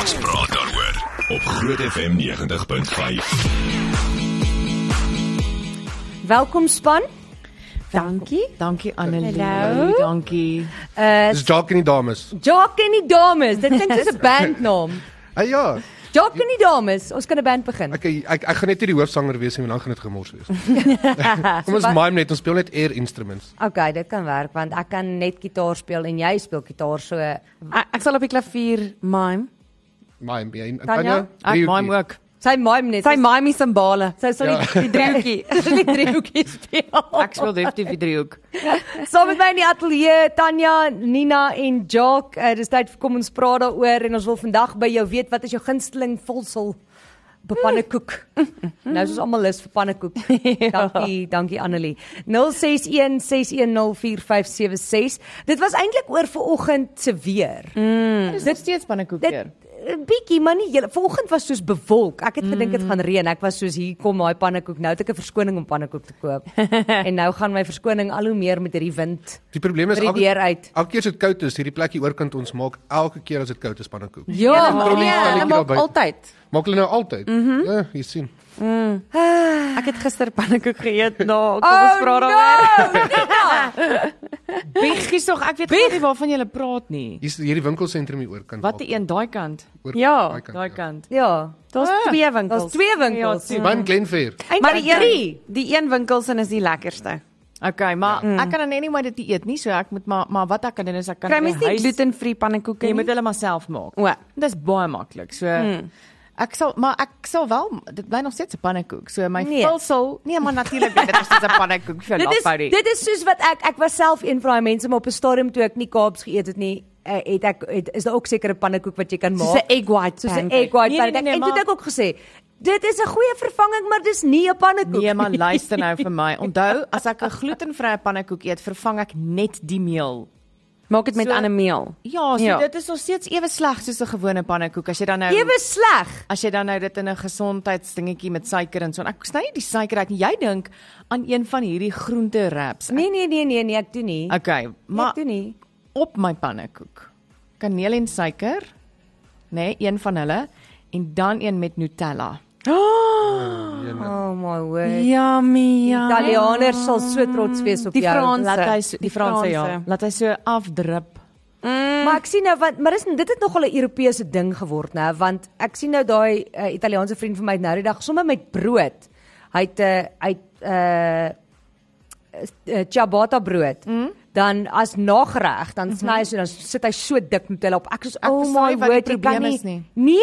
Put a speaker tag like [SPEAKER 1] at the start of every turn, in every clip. [SPEAKER 1] Ons praat daaroor op Groot FM 90.5.
[SPEAKER 2] Welkom span.
[SPEAKER 3] Dankie.
[SPEAKER 2] Dankie Annelie.
[SPEAKER 3] Hallo.
[SPEAKER 2] Dankie.
[SPEAKER 3] Uh
[SPEAKER 4] Dis Jock en die dames.
[SPEAKER 2] Jock en die dames. Dit klink soos 'n bandnaam.
[SPEAKER 4] Hey ja,
[SPEAKER 2] Jock en die dames. Ons kan 'n band begin.
[SPEAKER 4] ek ek ek gaan net nie die hoofsanger wees nie, want dan gaan dit gemors wees. Kom ons mime net, ons speel net air instruments.
[SPEAKER 2] Okay, dit kan werk want ek kan net gitaar speel en jy speel gitaar so. eh,
[SPEAKER 3] ek, ek sal op die klavier mime.
[SPEAKER 4] Mime, ja. en
[SPEAKER 2] Tanya?
[SPEAKER 3] Ek
[SPEAKER 4] driehoekie.
[SPEAKER 3] mime ook.
[SPEAKER 2] Sy mime net.
[SPEAKER 3] Sy mime simbale.
[SPEAKER 2] sy sal die, die driehoekie. Sy sal die driehoekie speel.
[SPEAKER 3] Ek speel definitief die driehoek.
[SPEAKER 2] Saam met my in die ateljee Tanya, Nina en Jock. Uh, dis tyd vir kom ons praat daaroor en ons wil vandag by jou weet wat is jou gunsteling volsel bepannekoek. Nou is ons almal lus vir pannekoek. Dankie, dankie Annelie. 0616104576. Dit was eintlik oor vanoggend se weer.
[SPEAKER 5] Mm.
[SPEAKER 3] Dis dit steeds pannekoek
[SPEAKER 2] Dit 'n bietjie, maar nie hele. Vanoggend was soos bewolk. Ek het gedink dit gaan reën. Ek was soos hier kom daai pannekoek. Nou het ek 'n verskoning om pannekoek te koop. en nou gaan my verskoning al hoe meer met hierdie wind.
[SPEAKER 4] Die probleem is
[SPEAKER 2] Met die deur uit.
[SPEAKER 4] Elke keer as dit koud is, hierdie plekkie oorkant ons maak elke keer as dit koud is pannekoek.
[SPEAKER 2] Ja,
[SPEAKER 4] Kom nie
[SPEAKER 3] Ja,
[SPEAKER 4] van die
[SPEAKER 3] hulle maak
[SPEAKER 4] krabbe.
[SPEAKER 3] altyd.
[SPEAKER 4] Maak hulle nou altyd. Ja, jy sien.
[SPEAKER 3] Ek het gister pannekoek geëet na kom
[SPEAKER 2] Oh,
[SPEAKER 3] ons praat daaroor.
[SPEAKER 2] no!
[SPEAKER 3] Biggies tog, ek weet glad nie waarvan jy praat nie.
[SPEAKER 4] Hier's hierdie winkelsentrum hier oorkant.
[SPEAKER 3] Wat die een daai kant?
[SPEAKER 4] Oor-
[SPEAKER 3] Ja,
[SPEAKER 4] daai kant,
[SPEAKER 3] daai
[SPEAKER 4] ja.
[SPEAKER 3] kant.
[SPEAKER 2] Ja,
[SPEAKER 3] Daar's
[SPEAKER 2] Ah,
[SPEAKER 3] twee winkels.
[SPEAKER 2] daar's twee winkels.
[SPEAKER 3] Ja,
[SPEAKER 4] Van Glenfair.
[SPEAKER 2] eintlik
[SPEAKER 5] Maar die
[SPEAKER 2] drie.
[SPEAKER 5] een, die een winkelsin is die lekkerste.
[SPEAKER 3] Okay, maar ja. ek kan dan nie net maar dit eet nie, so ek moet maar maar wat ek kan doen is ek kan
[SPEAKER 5] Kry
[SPEAKER 3] in die
[SPEAKER 5] mens nie
[SPEAKER 3] huis- Nee,
[SPEAKER 5] glutenvrye pannekoeke
[SPEAKER 3] Jy
[SPEAKER 5] nie?
[SPEAKER 3] moet hulle maar self maak.
[SPEAKER 5] O.
[SPEAKER 3] Dis baie maklik. So hmm. ek sal maar ek sal wel dit bly nog steeds 'n pannekoek. So my
[SPEAKER 2] Nee.
[SPEAKER 3] nee. vulsel, nee maar natuurlik dit is steeds 'n pannekoek vir
[SPEAKER 2] Dit is
[SPEAKER 3] Lafourie.
[SPEAKER 2] dit is soos wat ek ek was self een van daai mense maar op 'n stadium toe ek nie Kaaps geëet het nie, eh, het ek het, is daar ook sekere pannekoek wat jy kan maak.
[SPEAKER 5] Soos 'n egg white
[SPEAKER 2] soos 'n
[SPEAKER 5] pancake.
[SPEAKER 2] egg white
[SPEAKER 3] Nee, nee,
[SPEAKER 2] pancake.
[SPEAKER 3] nee,
[SPEAKER 2] En toe
[SPEAKER 3] maar-
[SPEAKER 2] het ek ook gesê, dit is 'n goeie vervanging, maar dis nie 'n pannekoek.
[SPEAKER 3] Nee man, luister nou vir my. Onthou, as ek 'n glutenvrye pannekoek eet, vervang ek net die meel.
[SPEAKER 5] Maak dit met
[SPEAKER 3] So-
[SPEAKER 5] ander meel.
[SPEAKER 3] Ja, so
[SPEAKER 5] Ja.
[SPEAKER 3] ja. dit is nog steeds ewe sleg soos 'n gewone pannekoek as jy dan nou
[SPEAKER 2] Ewe sleg.
[SPEAKER 3] As jy dan nou dit in 'n gesondheidsdingetjie met suiker en so en ek sny nie die suiker uit nie. Jy dink aan een van hierdie groente wraps.
[SPEAKER 2] Nee nee nee nee nee, ek doen nie.
[SPEAKER 3] Okay, maar
[SPEAKER 2] ek doen nie.
[SPEAKER 3] op my pannekoek. Kaneel en suiker, nê, nee, een van hulle en dan een met Nutella.
[SPEAKER 4] ja.
[SPEAKER 2] Oh my word.
[SPEAKER 5] Yummy.
[SPEAKER 2] ja. Italianers sal so trots wees op
[SPEAKER 5] Die
[SPEAKER 2] jou.
[SPEAKER 5] Franse.
[SPEAKER 3] Laat hy so, die
[SPEAKER 5] Die
[SPEAKER 3] Franse ja,
[SPEAKER 5] Franse.
[SPEAKER 3] laat hy so afdrup.
[SPEAKER 2] Maar ek sien nou want maar is dit het nogal 'n Europese ding geword nè, want ek sien nou daai uh, Italiaanse vriend van my het nou die dag sommer met brood. Hy het 'n uh, hy het 'n uh, uh, ciabatta brood. Mm? Dan as nagereg, dan sny hy so dan sit hy so dik Nutella op. Ek sê
[SPEAKER 3] Mhm. Ek
[SPEAKER 2] oh
[SPEAKER 3] verstaan
[SPEAKER 2] my
[SPEAKER 3] nie wat die
[SPEAKER 2] word, jy kan
[SPEAKER 3] probleem
[SPEAKER 2] nie.
[SPEAKER 3] is nie.
[SPEAKER 2] Nee.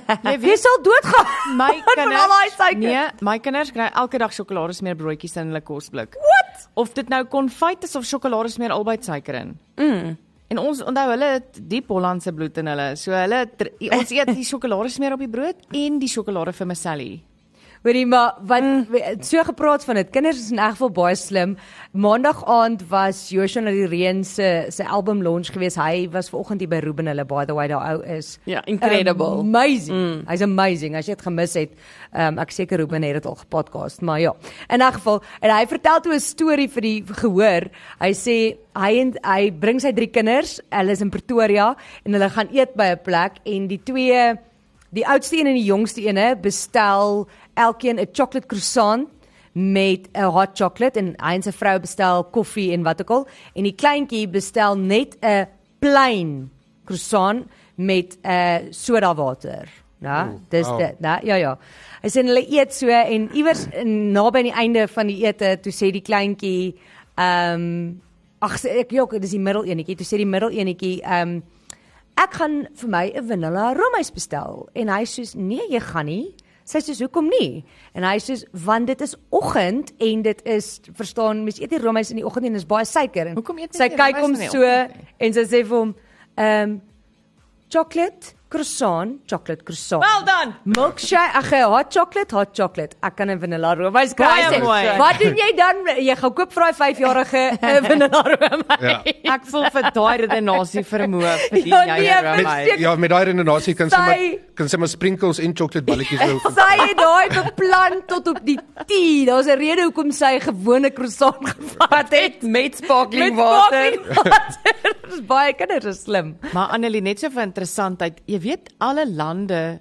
[SPEAKER 3] Jy
[SPEAKER 2] jy
[SPEAKER 3] weet-
[SPEAKER 2] sal doodgaan.
[SPEAKER 3] My
[SPEAKER 2] van al daai
[SPEAKER 3] kinders,
[SPEAKER 2] suiker.
[SPEAKER 3] nee, my kinders kry elke dag sjokoladesmeer broodjies in hulle kosblik. Wat? Of dit nou konfyt is of sjokoladesmeer albei suiker in. Mm. En ons onthou hulle het diep Hollandse bloed in hulle. So hulle dr- ons eet die sjokoladesmeer op die brood en die sjokolade vir Maselli.
[SPEAKER 2] Hoorie maar wat mm. so gepraat van dit. Kinders is in elk geval baie slim. Maandag aand was Joshua na die reën se se album launch gewees. Hy was vanoggend hier by Ruben hulle by the way daai ou is.
[SPEAKER 5] Ja, incredible.
[SPEAKER 2] Amazing. Mm. Hy's amazing. As jy dit gemis het, um, ek seker Ruben het dit al gepodcast, maar ja. In 'n geval en hy vertel toe 'n storie vir die gehoor. Hy sê hy en hy bring sy drie kinders. Hulle is in Pretoria en hulle gaan eet by 'n plek en die twee Die oudste een en die jongste ene bestel elkeen 'n chocolate croissant met 'n hot chocolate en hy en sy vrou bestel koffie en wat ook al en die kleintjie bestel net 'n plain croissant met 'n soda water. Nou, dis
[SPEAKER 4] wow.
[SPEAKER 2] dit, né? Ja ja. Hy sê hulle eet so en iewers in- naby aan die einde van die ete toe sê die kleintjie ehm ag sê ek jok, dis die middel enetjie. Toe sê die middel enetjie ehm ek gaan vir my 'n vanilla roomys bestel en hy sê nee jy gaan nie sy sê hoekom nie en hy sê want dit is oggend en dit is verstaan mens eet nie roomys in die oggend nie en dis baie suiker en
[SPEAKER 3] Hoekom eet mens
[SPEAKER 2] sy
[SPEAKER 3] nie
[SPEAKER 2] kyk
[SPEAKER 3] roomys
[SPEAKER 2] hom
[SPEAKER 3] in die
[SPEAKER 2] so
[SPEAKER 3] oggend
[SPEAKER 2] en sy sê vir hom ehm chocolate croissant chocolate croissant
[SPEAKER 3] Well done.
[SPEAKER 2] Milkshake, ag, hot chocolate, hot chocolate. Ek kan 'n vanilla roomys kry.
[SPEAKER 3] Baie
[SPEAKER 2] Hy sê,
[SPEAKER 3] mooi.
[SPEAKER 2] Wat doen jy dan? Jy gaan koop vir daai eh, 5-jarige 'n vanilla roomys.
[SPEAKER 4] Ja.
[SPEAKER 3] Ek voel vir daai redenasie vermoë vir die
[SPEAKER 2] Ja,
[SPEAKER 3] jy
[SPEAKER 2] nee,
[SPEAKER 3] nou
[SPEAKER 2] versteek
[SPEAKER 3] my.
[SPEAKER 4] Ja, met daai redenasie kan
[SPEAKER 2] Sy-
[SPEAKER 4] sommer kan sommer sprinkles en chocolate balletjies nou.
[SPEAKER 2] Sy het daai beplan tot op die T. Daar's 'n rede hoekom sy 'n gewone croissant gevat het
[SPEAKER 5] Met sparkling
[SPEAKER 2] met
[SPEAKER 5] water.
[SPEAKER 2] water. Dis baie kinders is slim.
[SPEAKER 3] Maar Annelie net so vir interessantheid, jy jy weet alle lande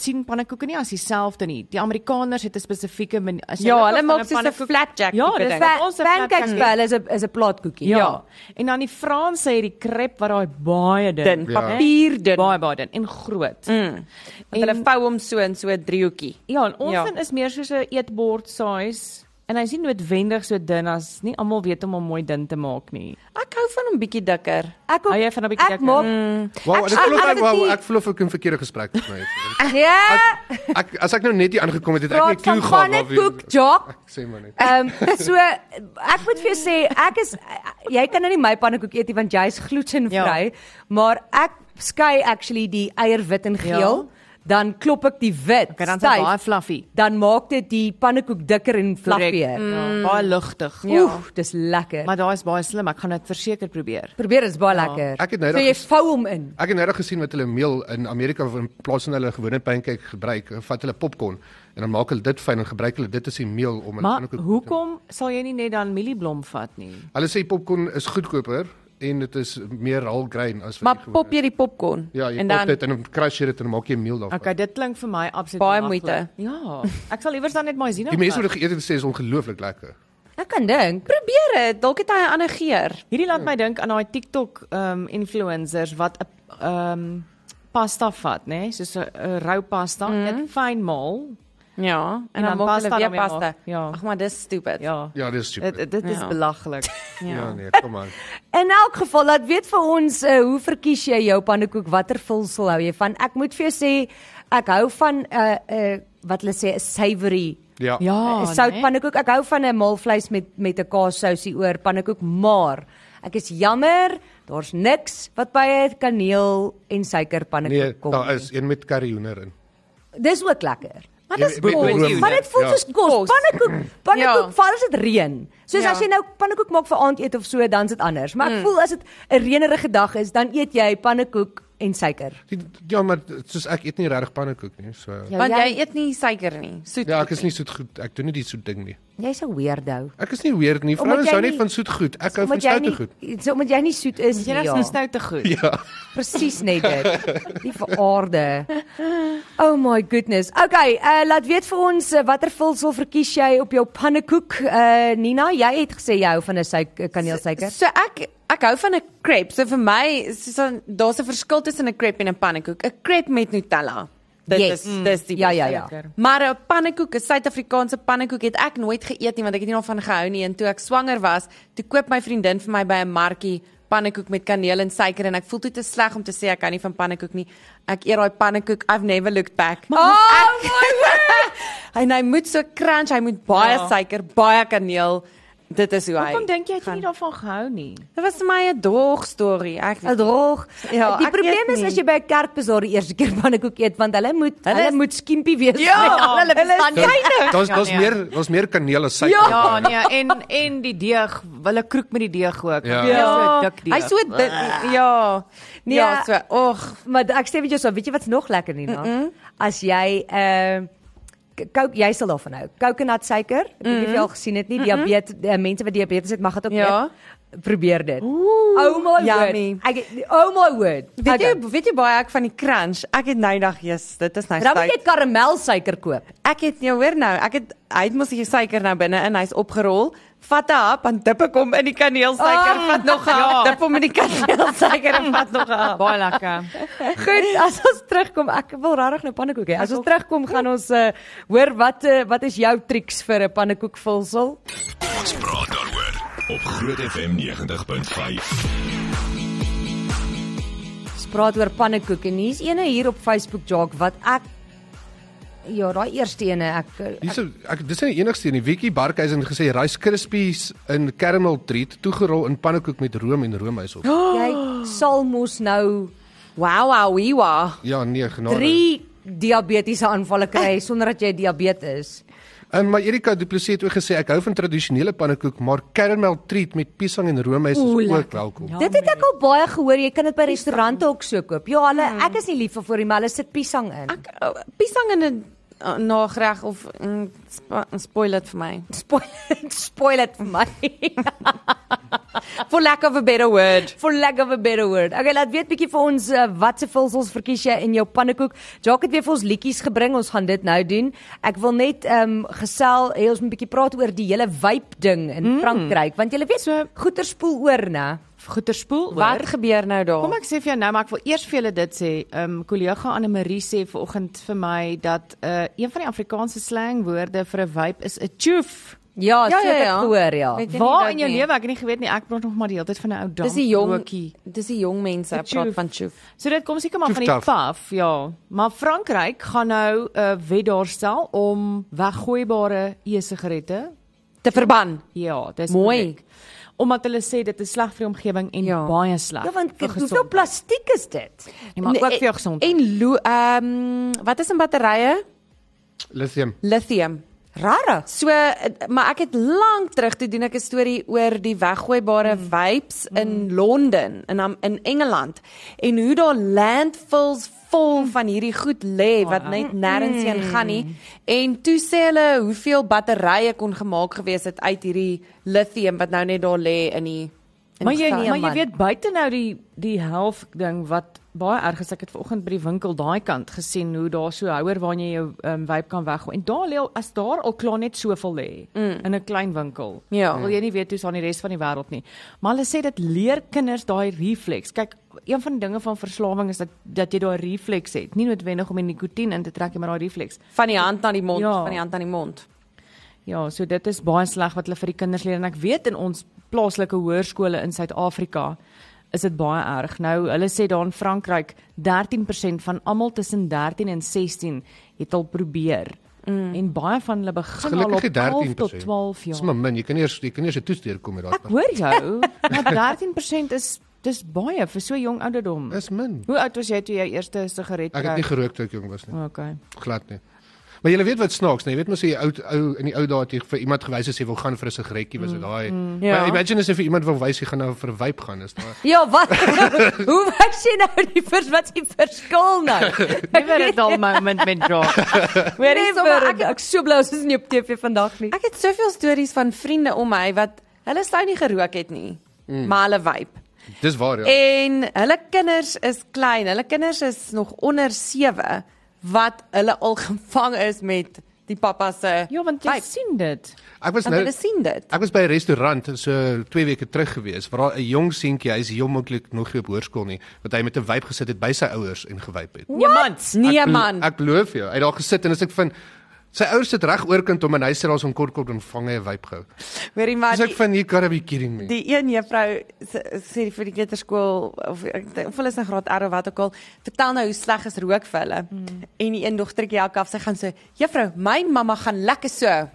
[SPEAKER 3] sien pannekoeke nie as dieselfde nie. Die Amerikaners het 'n spesifieke men- as jy
[SPEAKER 5] Ja,
[SPEAKER 3] loop
[SPEAKER 5] hulle
[SPEAKER 3] van 'n
[SPEAKER 5] maak soos 'n
[SPEAKER 3] pannekoek-
[SPEAKER 5] flatjack
[SPEAKER 3] Ja,
[SPEAKER 5] tipe
[SPEAKER 3] dis
[SPEAKER 5] ding.
[SPEAKER 3] wat ons 'n
[SPEAKER 2] Pancakes
[SPEAKER 3] flatjack
[SPEAKER 2] vir
[SPEAKER 3] noem.
[SPEAKER 2] hulle is 'n is 'n plaatkoekie.
[SPEAKER 3] Ja. ja. En dan die Franse het die krep wat daai baie dun,
[SPEAKER 5] Dun,
[SPEAKER 3] né?
[SPEAKER 5] papier dun.
[SPEAKER 3] Baie baie dun en groot. Mm.
[SPEAKER 5] Want hulle vou hom so in so 'n driehoekie.
[SPEAKER 3] Ja, en ons
[SPEAKER 5] Ja.
[SPEAKER 3] ja. is meer soos 'n eetbord size en hy's nie noodwendig so dun as nie almal weet om hom mooi dun te maak nie.
[SPEAKER 5] Ek hou van hom bietjie dikker.
[SPEAKER 2] Ek
[SPEAKER 3] Hou jy van 'n bietjie
[SPEAKER 2] Ek
[SPEAKER 3] dikker?
[SPEAKER 2] maak
[SPEAKER 4] Wow, en ek voel ook
[SPEAKER 2] Ek-
[SPEAKER 4] ek wow,
[SPEAKER 2] ek-
[SPEAKER 4] ek voel of ek 'n verkeerde gesprek het nou.
[SPEAKER 2] ja,
[SPEAKER 4] Ek as ek nou net hier aangekom het, het ek nie 'n
[SPEAKER 2] praat
[SPEAKER 4] klou
[SPEAKER 2] van
[SPEAKER 4] gehad waar
[SPEAKER 2] pannekoek, Jock.
[SPEAKER 4] Ek Sê maar net.
[SPEAKER 2] Ehm um, so ek moet vir jou sê ek is jy kan nou nie my pannekoek eet nie want jy's glutenvry, ja. maar ek skei actually die eier wit en geel, ja. dan klop ek die wit.
[SPEAKER 3] Okay, dan is hy
[SPEAKER 2] styf,
[SPEAKER 3] baie fluffy.
[SPEAKER 2] dan maak dit die pannekoek dikker en
[SPEAKER 3] Korrek.
[SPEAKER 2] fluffier.
[SPEAKER 3] Ja, baie ligtig.
[SPEAKER 2] Mm, Ja. Oef, dis lekker.
[SPEAKER 3] Maar daai is baie slim. Ek gaan dit verseker probeer.
[SPEAKER 2] Probeer dit's baie ja. lekker.
[SPEAKER 4] Ek het nou
[SPEAKER 2] so
[SPEAKER 4] dat
[SPEAKER 2] jy
[SPEAKER 4] ges-
[SPEAKER 2] vou hom in.
[SPEAKER 4] Ek het nou net gesien wat hulle meel in Amerika in plaas van hulle gewone pancake gebruik, vat hulle popcorn en dan maak hulle dit fyn en gebruik hulle dit as die meel om 'n
[SPEAKER 3] Maar
[SPEAKER 4] pannekoek te
[SPEAKER 3] hoekom sal jy nie net dan mielieblom vat nie?
[SPEAKER 4] Hulle sê popcorn is goedkoper en dit is meer whole grain as
[SPEAKER 5] Maar
[SPEAKER 4] wat die gewone-
[SPEAKER 5] pop jy die popcorn
[SPEAKER 4] Ja, jy
[SPEAKER 5] en
[SPEAKER 4] pop
[SPEAKER 5] dan
[SPEAKER 4] dit en dan crush jy dit en dan maak jy 'n meel daarvan.
[SPEAKER 3] Okay, dit klink vir my absoluut
[SPEAKER 5] Baie
[SPEAKER 3] belaglik.
[SPEAKER 5] moeite.
[SPEAKER 3] Ja, ek sal iewers dan net maizena.
[SPEAKER 4] Die mense wat
[SPEAKER 3] vat.
[SPEAKER 4] dit geëet het sê is ongelooflik lekker.
[SPEAKER 2] Ek kan dink.
[SPEAKER 5] probeer dit. Dalk het hy 'n ander geur.
[SPEAKER 4] Hmm.
[SPEAKER 3] Hierdie laat my dink aan daai TikTok um influencers wat 'n um pasta vat, né? Nee? Soos 'n uh, rou pasta, mm. dit fyn maal.
[SPEAKER 5] Ja, en,
[SPEAKER 3] dan
[SPEAKER 5] dan, maak
[SPEAKER 3] pasta
[SPEAKER 5] hulle weer
[SPEAKER 3] daarmee maak.
[SPEAKER 5] pasta.
[SPEAKER 3] Ja.
[SPEAKER 5] Ag maar dis stupid.
[SPEAKER 3] Ja.
[SPEAKER 4] Ja, dis
[SPEAKER 3] Dit
[SPEAKER 4] super.
[SPEAKER 3] dit- dit is
[SPEAKER 5] Ja.
[SPEAKER 3] ja. belaglik.
[SPEAKER 4] Ja nee, kom aan.
[SPEAKER 2] In elk geval, laat weet vir ons uh, hoe verkies jy jou pannekoek? Watter vulsel hou jy van? Ek moet vir jou sê ek hou van 'n uh, 'n uh, wat hulle sê 'n savory
[SPEAKER 4] Ja.
[SPEAKER 3] Ja,
[SPEAKER 2] oh, sout pannekoek. Ek hou van 'n maalvleis met met 'n kaassousie oor pannekoek, maar ek is jammer, daar's niks wat by 'n kaneel en suiker pannekoek
[SPEAKER 4] Nee,
[SPEAKER 2] kom.
[SPEAKER 4] daar
[SPEAKER 2] nie.
[SPEAKER 4] is een met curry hoender in.
[SPEAKER 2] Dis ook lekker.
[SPEAKER 5] Maar
[SPEAKER 4] Jy
[SPEAKER 5] dis
[SPEAKER 4] weet- met- met room,
[SPEAKER 5] kos.
[SPEAKER 2] Maar dit voel
[SPEAKER 4] Ja.
[SPEAKER 2] soos kos.
[SPEAKER 5] Kos.
[SPEAKER 2] Pannekoek, pannekoek
[SPEAKER 5] Ja.
[SPEAKER 2] ja. val as dit reën. Soos
[SPEAKER 5] Ja.
[SPEAKER 2] ja. as jy nou pannekoek maak vir aandete of so, dan's dit anders. Maar ek mm. voel as dit 'n reënerige dag is, dan eet jy pannekoek en suiker.
[SPEAKER 4] Die, ja, maar dit- soos ek eet nie regtig pannekoek nie, so ja.
[SPEAKER 5] Want
[SPEAKER 2] jy-
[SPEAKER 5] jy eet nie suiker nie. Soet.
[SPEAKER 4] ja, ek is nie soet goed. Ek doen nie die soet ding nie.
[SPEAKER 2] Jy's 'n weirdo.
[SPEAKER 4] Ek is nie weird nie.
[SPEAKER 2] Omdat
[SPEAKER 4] Vrouens
[SPEAKER 2] jy
[SPEAKER 4] hou nie
[SPEAKER 2] nie-
[SPEAKER 4] van soet goed. Ek hou van
[SPEAKER 2] Omdat jy
[SPEAKER 4] stoute
[SPEAKER 2] nie
[SPEAKER 4] goed.
[SPEAKER 2] so omdat jy nie soet is
[SPEAKER 3] Jy
[SPEAKER 2] nie.
[SPEAKER 3] is
[SPEAKER 2] Ja.
[SPEAKER 3] nou nou te goed.
[SPEAKER 4] Ja.
[SPEAKER 2] Presies net dit. Die veraarde. Oh my goodness. Okay, uh, laat weet vir ons uh, watter vulsel verkies jy op jou pannekoek? Uh, Nina, jy het gesê jy hou van 'n suiker kaneelsuiker.
[SPEAKER 5] So ek ek hou van 'n crepe. So vir my so daar's 'n verskil tussen 'n crepe en 'n pannekoek. 'n Crepe met Nutella. Dit
[SPEAKER 2] Yes.
[SPEAKER 5] is dis die
[SPEAKER 2] Ja, ja,
[SPEAKER 5] beste.
[SPEAKER 2] ja.
[SPEAKER 3] Lekker.
[SPEAKER 5] Maar 'n pannekoek, 'n Suid-Afrikaanse pannekoek het ek nooit geëet nie want ek het nie daarvan gehou nie en toe ek swanger was, toe koop my vriendin vir my by 'n markie pannekoek met kaneel en suiker en ek voel toe te sleg om te sê ek hou nie van pannekoek nie. Ek eet daai pannekoek. I've never looked back.
[SPEAKER 2] Oh
[SPEAKER 5] my en hy moet so crunch, hy moet baie
[SPEAKER 3] Ja.
[SPEAKER 5] suiker, baie kaneel. Dit is hoe hy.
[SPEAKER 3] Hoekom dink jy het jy nie daarvan gehou nie?
[SPEAKER 5] Dit was vir my 'n droog storie. Ek weet.
[SPEAKER 2] 'n droog.
[SPEAKER 5] Ja,
[SPEAKER 2] Ja, die
[SPEAKER 5] ek weet
[SPEAKER 2] probleem is
[SPEAKER 5] nie.
[SPEAKER 2] as jy by 'n kerkbazaar die eerste keer pannekoek eet want hulle moet hulle,
[SPEAKER 5] is-
[SPEAKER 2] hulle moet skimpie wees.
[SPEAKER 5] Ja,
[SPEAKER 2] met al hulle
[SPEAKER 5] hulle is
[SPEAKER 2] bestaan.
[SPEAKER 4] Daar's
[SPEAKER 3] Ja,
[SPEAKER 4] daar's
[SPEAKER 3] nee.
[SPEAKER 4] meer daar's meer kaneel as suiker.
[SPEAKER 3] Ja, nee, en en die deeg, hulle kroek met die deeg ook.
[SPEAKER 4] Ja.
[SPEAKER 3] Ja, so dik deeg.
[SPEAKER 5] Hy so dik. Ja. Nee, ja,
[SPEAKER 2] Ja.
[SPEAKER 5] so. Och,
[SPEAKER 2] Maar ek sê weet jy so, weet jy wat's nog lekker nie nou? Mm -mm. As jy ehm uh, kook jy sal daarvan hou. Coconut suiker, ek weet nie of jy al gesien het nie, diabetes uh, mense wat diabetes het mag dit ook
[SPEAKER 5] Ja.
[SPEAKER 2] eet. Probeer dit. Ooh, oh my
[SPEAKER 5] yummy.
[SPEAKER 2] word. Ek oh my word.
[SPEAKER 5] weet okay. jy weet jy baie ek van die crunch. Ek het nou dag, Jesus, dit is nou
[SPEAKER 2] dan moet jy
[SPEAKER 5] styk.
[SPEAKER 2] karamelsuiker koop.
[SPEAKER 5] Ek het nou hoor nou, ek het hy het mos hier suiker nou binne in, hy's opgerol. Vat 'n hap, dan dip ek hom in die kaneelsuiker,
[SPEAKER 2] Ah,
[SPEAKER 5] oh, vat nog 'n hap, dip hom in die kaneelsuiker en vat nog 'n hap.
[SPEAKER 3] baie lekker.
[SPEAKER 2] Goed, as ons terugkom, ek wil regtig nou pannekoek hê. As ons terugkom, gaan ons uh, hoor wat uh, wat is jou triks vir 'n pannekoekvulsel?
[SPEAKER 1] Ons praat daaroor op Groot FM 90.5.
[SPEAKER 2] Ons praat oor pannekoek en hier's eene hier op Facebook Jock wat ek ja, daai eerste ene ek eh,
[SPEAKER 4] Dis ek dis nie die enigste een nie. Wiekie Barkhuizen het gesê Rice Krispies in caramel treat toegerol in pannekoek met room en roomys op.
[SPEAKER 2] jy sal mos nou
[SPEAKER 5] Wow, wow, wee, wow.
[SPEAKER 4] Ja, nee, genade.
[SPEAKER 2] 3 diabetiese aanvalle kry sonder dat jy diabetes.
[SPEAKER 4] En maar Erika Du Plessis het ook gesê ek hou van tradisionele pannekoek, maar caramel treat met piesang en roomys is ook welkom.
[SPEAKER 2] Dit het ek al baie gehoor, jy kan dit by restaurante ook so koop. Ja, hulle ek is nie lief vir voor die maar hulle sit piesang in.
[SPEAKER 5] Ek oh, piesang in 'n oh, nagreg of mm, spo- spoil dit vir my.
[SPEAKER 2] Spoil spoil dit vir my.
[SPEAKER 5] For lack of a better word.
[SPEAKER 2] For lack of a better word. Okay, laat weet bietjie vir ons uh, watse vulsels verkies jy in jou pannekoek. Jacques het weer vir ons liedjies gebring. Ons gaan dit nou doen. Ek wil net ehm um, gesel, hey, ons moet 'n bietjie praat oor die hele wyp ding in mm. Frankryk, want jy weet so goeie spoel oor, né?
[SPEAKER 3] Goeie spoel hoor.
[SPEAKER 5] Wat gebeur nou daar?
[SPEAKER 3] Kom ek sê vir jou nou, maar ek wil eers vir julle dit sê. Ehm um, kollega Anne Marie sê vanoggend vir my dat uh, een van die Afrikaanse slangwoorde vir 'n wyp is 'n tjoef.
[SPEAKER 2] Ja, ja so ja, ja. ek hoor, ja.
[SPEAKER 5] Weet jy nie
[SPEAKER 3] Waar
[SPEAKER 5] dat
[SPEAKER 3] in jou
[SPEAKER 5] nie?
[SPEAKER 3] lewe? Ek het nie geweet nie. Ek praat nog maar die hele tyd van 'n ou
[SPEAKER 5] Dis die jong,
[SPEAKER 3] dampbroekie.
[SPEAKER 5] dis die jong mense
[SPEAKER 3] Tjoef.
[SPEAKER 5] praat van tjoef.
[SPEAKER 3] So dit kom seker maar van die
[SPEAKER 4] Tjoef
[SPEAKER 3] paf, ja. Maar Frankryk gaan nou 'n uh, wet daarstel om weggooibare e-sigarette
[SPEAKER 5] Te verban.
[SPEAKER 3] Ja, dis
[SPEAKER 5] Mooi.
[SPEAKER 3] korrek. Omdat hulle sê dit is sleg vir die omgewing en ja.
[SPEAKER 5] Ja.
[SPEAKER 3] baie sleg.
[SPEAKER 2] Ja, want
[SPEAKER 3] vir
[SPEAKER 2] hoeveel
[SPEAKER 3] gesondheid.
[SPEAKER 2] plastiek is dit?
[SPEAKER 3] Nee, maar ook vir
[SPEAKER 5] eh,
[SPEAKER 3] jou gesondheid.
[SPEAKER 5] e- En lo- ehm wat is in batterye?
[SPEAKER 4] Lithium.
[SPEAKER 5] Lithium.
[SPEAKER 2] Rarig.
[SPEAKER 5] So eh, maar ek het lank terug toe doen ek 'n storie oor die weggooibare
[SPEAKER 3] Mm.
[SPEAKER 5] vapes in Londen in Am- in Engeland en hoe daar landfills
[SPEAKER 3] Mm.
[SPEAKER 5] vol van hierdie goed lê wat net nêrens heen gaan nie en toe sê hulle hoeveel batterye kon gemaak gewees het uit hierdie lithium wat nou net daar lê in die in
[SPEAKER 3] Maar jy
[SPEAKER 5] die
[SPEAKER 3] maar jy
[SPEAKER 5] man.
[SPEAKER 3] weet buite nou die die helf ding wat baie erg is. Ek het vanoggend by die winkel daai kant gesien hoe daar so 'n houer waarin jy jou um, wyp kan weggooi. En daar lê al- as daar al klaar net soveel lê mm. in 'n klein winkel.
[SPEAKER 5] Ja.
[SPEAKER 3] Wil jy nie weet hoe's aan die res van die wêreld nie. Maar hulle sê dit leer kinders daai refleks. Kyk, een van die dinge van verslawing is dat dat jy daai refleks het. Nie noodwendig om die nikotien in te trek nie, maar daai refleks.
[SPEAKER 5] van die hand na die mond,
[SPEAKER 3] Ja.
[SPEAKER 5] van die hand na die mond.
[SPEAKER 3] Ja, so dit is baie sleg wat hulle vir die kinders leer en ek weet in ons plaaslike hoërskole in Suid-Afrika is dit baie erg. Nou, hulle sê daar in Frankryk 13% van almal tussen 13 en 16 het al probeer. Mm. En baie van hulle begin al op
[SPEAKER 4] Gelukkig
[SPEAKER 3] 12
[SPEAKER 4] 13%.
[SPEAKER 3] tot
[SPEAKER 4] Dis
[SPEAKER 3] 12
[SPEAKER 2] Ja.
[SPEAKER 3] jaar.
[SPEAKER 4] maar min. Jy kan eers jy kan eers 'n toets deurkom met daai.
[SPEAKER 3] Ek hoor jou, maar 13% is dis baie vir so jong ouderdom.
[SPEAKER 4] Dis min.
[SPEAKER 3] Hoe oud was jy toe jy eerste sigaret Oh,
[SPEAKER 4] Ek het nie gerook toe ek jong was nie.
[SPEAKER 3] Okay.
[SPEAKER 4] glad nie. Maar jy weet wat snaaks, nee, jy weet mos jy ou ou in die ou dae het jy vir iemand gewys as jy wil gaan vir 'n sigaretjie was dit daai.
[SPEAKER 5] ja.
[SPEAKER 4] Maar imagine as jy vir iemand wil wys jy gaan nou vir 'n wyp gaan, is daar.
[SPEAKER 2] Ja, wat? Hoe was jy nou die vers wat se verskil nou?
[SPEAKER 3] Never a dull moment met Jock.
[SPEAKER 2] Weer
[SPEAKER 5] Nee,
[SPEAKER 2] is
[SPEAKER 5] maar
[SPEAKER 2] sommer
[SPEAKER 5] ek-
[SPEAKER 2] ek ek so bly ons is nie op TV vandag nie.
[SPEAKER 5] Ek het soveel stories van vriende om my wat hulle sou nie gerook het nie, mm. maar hulle vape.
[SPEAKER 4] Dis waar ja.
[SPEAKER 5] En hulle kinders is klein. Hulle kinders is nog onder 7 wat hulle al gevang is met die pappa se
[SPEAKER 3] Ja, want jy
[SPEAKER 5] vape.
[SPEAKER 3] sien dit.
[SPEAKER 4] Ek was
[SPEAKER 5] Want
[SPEAKER 4] nou
[SPEAKER 5] hulle sien dit.
[SPEAKER 4] Ek was by 'n restaurant so 2 weke terug gewees waar daar 'n jong seentjie, hy's heel moontlik nog nie op hoërskool nie, wat hy met 'n wyp gesit het by sy ouers en gewyp het.
[SPEAKER 5] Niemand. Nee
[SPEAKER 4] Ek belo-
[SPEAKER 5] man.
[SPEAKER 4] Ek beloof jou, hy het daar gesit en as ek van sy ouers sit reg oorkant hom en hy sit daar so in kort kort en vang hy 'n wyp gehou.
[SPEAKER 5] Hoorie maar
[SPEAKER 4] Dis ek
[SPEAKER 5] die,
[SPEAKER 4] van you gotta be kidding me.
[SPEAKER 5] die een juffrou s- sê vir die kleuterskool of ek dink of hulle is in graad R of wat ook al, vertel nou hoe sleg is rook vir hulle. Mm. En die een dogtertjie help af, sy gaan so: "Juffrou, my mamma gaan lekker so."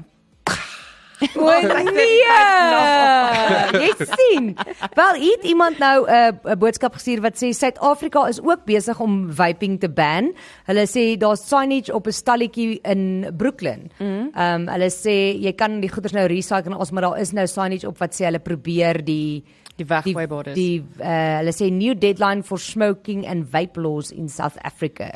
[SPEAKER 2] O nee. Jy sien. Wel, het iemand nou 'n uh, boodskap gestuur wat sê Suid-Afrika is ook besig om vaping te ban. Hulle sê daar's signage op 'n stalletjie in Brooklyn. Ehm um, hulle sê jy kan die goeders nou recycle en ons maar daar is nou signage op wat sê hulle probeer die
[SPEAKER 3] Die weggooibares.
[SPEAKER 2] Die, die uh, hulle sê new deadline for smoking and vape laws in South Africa.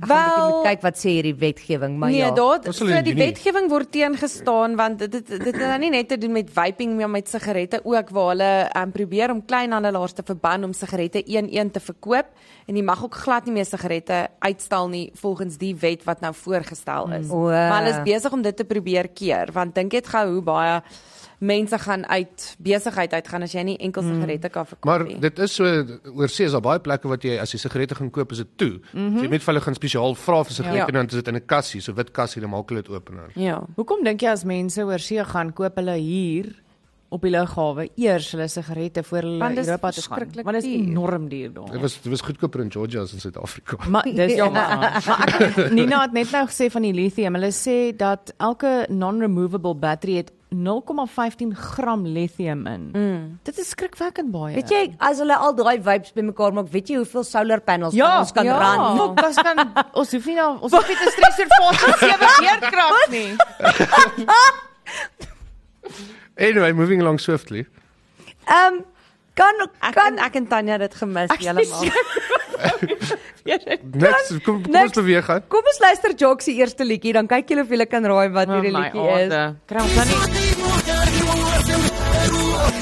[SPEAKER 2] Wel, moet
[SPEAKER 5] Wel,
[SPEAKER 2] kyk wat sê hierdie wetgewing, maar
[SPEAKER 5] Nee,
[SPEAKER 2] ja.
[SPEAKER 5] daar
[SPEAKER 4] Ons
[SPEAKER 5] so
[SPEAKER 4] sal in
[SPEAKER 5] die
[SPEAKER 4] Junie.
[SPEAKER 5] wetgewing word teengestaan want dit dit dit het nou nie net te doen met vaping maar met sigarette ook waar hulle um, probeer om kleinhandelaars te verban om sigarette 1-1 te verkoop en jy mag ook glad nie meer sigarette uitstal nie volgens die wet wat nou voorgestel is.
[SPEAKER 2] O.
[SPEAKER 5] Maar hulle is besig om dit te probeer keer want dink net gou hoe baie mense gaan uit besigheid uitgaan as jy nie enkel sigarette kan verkoop
[SPEAKER 4] Maar
[SPEAKER 5] nie.
[SPEAKER 4] dit is so oorsee is daar baie plekke wat jy as jy sigarette gaan koop is dit toe. Mm -hmm. so, jy moet vir hulle gaan spesiaal vra vir sigarette
[SPEAKER 5] Ja.
[SPEAKER 4] ja. en dan is dit in 'n kassie, so wit kassie, dan maak hulle dit oop en dan.
[SPEAKER 5] Ja.
[SPEAKER 3] Hoekom dink jy as mense oor see gaan koop hulle hier op die lughawe eers hulle sigarette voor hulle
[SPEAKER 5] Want dis
[SPEAKER 3] Europa toe gaan?
[SPEAKER 5] verskriklik
[SPEAKER 3] Want dit is
[SPEAKER 5] duur.
[SPEAKER 3] enorm duur daar.
[SPEAKER 4] Dit was dit was goedkoper in Georgia as in Suid-Afrika.
[SPEAKER 3] Maar dis ja maar. maar ek, Nina het net nou gesê van die lithium. Hulle sê dat elke non-removable battery het 0,15 gram lithium in. Mm. Dit is skrikwekkend baie.
[SPEAKER 2] Weet jy, as hulle al daai vibes bymekaar maak, weet jy hoeveel solar panels
[SPEAKER 3] Ja,
[SPEAKER 2] ons kan
[SPEAKER 5] ja.
[SPEAKER 2] ran?
[SPEAKER 3] Fok, ons kan ons hoef nie nou ons hoef nie te stres oor fase 7 beerkrag nie.
[SPEAKER 4] Anyway, moving along swiftly.
[SPEAKER 2] Ehm kan
[SPEAKER 5] Ek
[SPEAKER 2] kan
[SPEAKER 5] kan ek en Tanya het dit gemis heeltemal.
[SPEAKER 4] Next, kom kom ons
[SPEAKER 2] next.
[SPEAKER 4] beweeg aan.
[SPEAKER 2] Kom ons luister Jock se eerste liedjie, dan kyk julle of
[SPEAKER 3] Oh
[SPEAKER 2] julle kan raai wat hierdie liedjie is.
[SPEAKER 3] Kry ons dan nie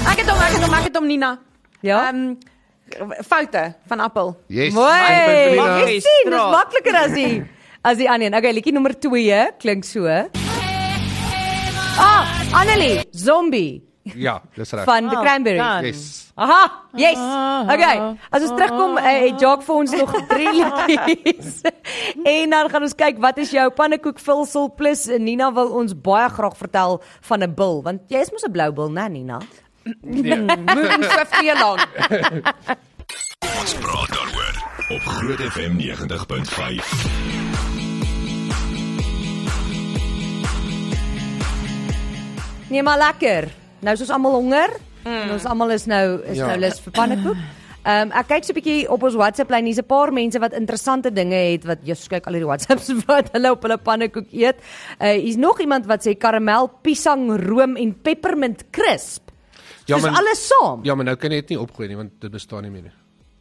[SPEAKER 5] Ek het hom, ek het hom, ek het hom Nina.
[SPEAKER 2] Ja.
[SPEAKER 5] Ehm foute van appel.
[SPEAKER 4] Yes.
[SPEAKER 2] Mooi.
[SPEAKER 3] Mag
[SPEAKER 2] Jy
[SPEAKER 3] jy
[SPEAKER 2] sien, dis
[SPEAKER 3] straat.
[SPEAKER 2] makliker as die as die ander een. Okay, liedjie nommer 2 klink so. Ah, Annelie, Zombie
[SPEAKER 4] Ja, dis reg.
[SPEAKER 2] van The Cranberries.
[SPEAKER 3] kan.
[SPEAKER 4] Yes.
[SPEAKER 2] Aha, yes. Okay, as ons terugkom, eh, het Jock vir ons nog drie liedjies. en dan gaan ons kyk wat is jou pannekoekvulsel plus eh, Nina wil ons baie graag vertel van 'n bil, want jy is mos 'n blou bil, né Nina?
[SPEAKER 4] Ja,
[SPEAKER 5] Moed en so veel lank.
[SPEAKER 1] Ons praat daaroor op Groot FM 90.5.
[SPEAKER 2] Nee, maar lekker. Nou is ons almal honger. Mm.
[SPEAKER 5] Hmm.
[SPEAKER 2] En ons almal is nou is
[SPEAKER 4] Ja.
[SPEAKER 2] ja. nou lus vir pannekoek. Ehm um, ek kyk so 'n bietjie op ons WhatsApp lyn. Hier's 'n paar mense wat interessante dinge het wat jy kyk al hierdie WhatsApps wat hulle op hulle pannekoek eet. Uh hier's nog iemand wat sê karamel, piesang, room en peppermint crisp. Ja, Dis alles saam.
[SPEAKER 4] Ja, maar nou kan jy dit nie opgooi nie want dit bestaan nie meer nie.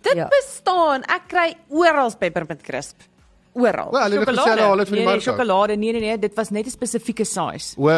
[SPEAKER 5] Dit
[SPEAKER 2] Ja.
[SPEAKER 5] bestaan. Ek kry oral peppermint crisp. Oral.
[SPEAKER 4] Wel, hulle het gesê hulle haal dit van die
[SPEAKER 3] nee, nee,
[SPEAKER 4] mark. af.
[SPEAKER 3] sjokolade. Nee nee nee, dit was net 'n spesifieke size.
[SPEAKER 4] O,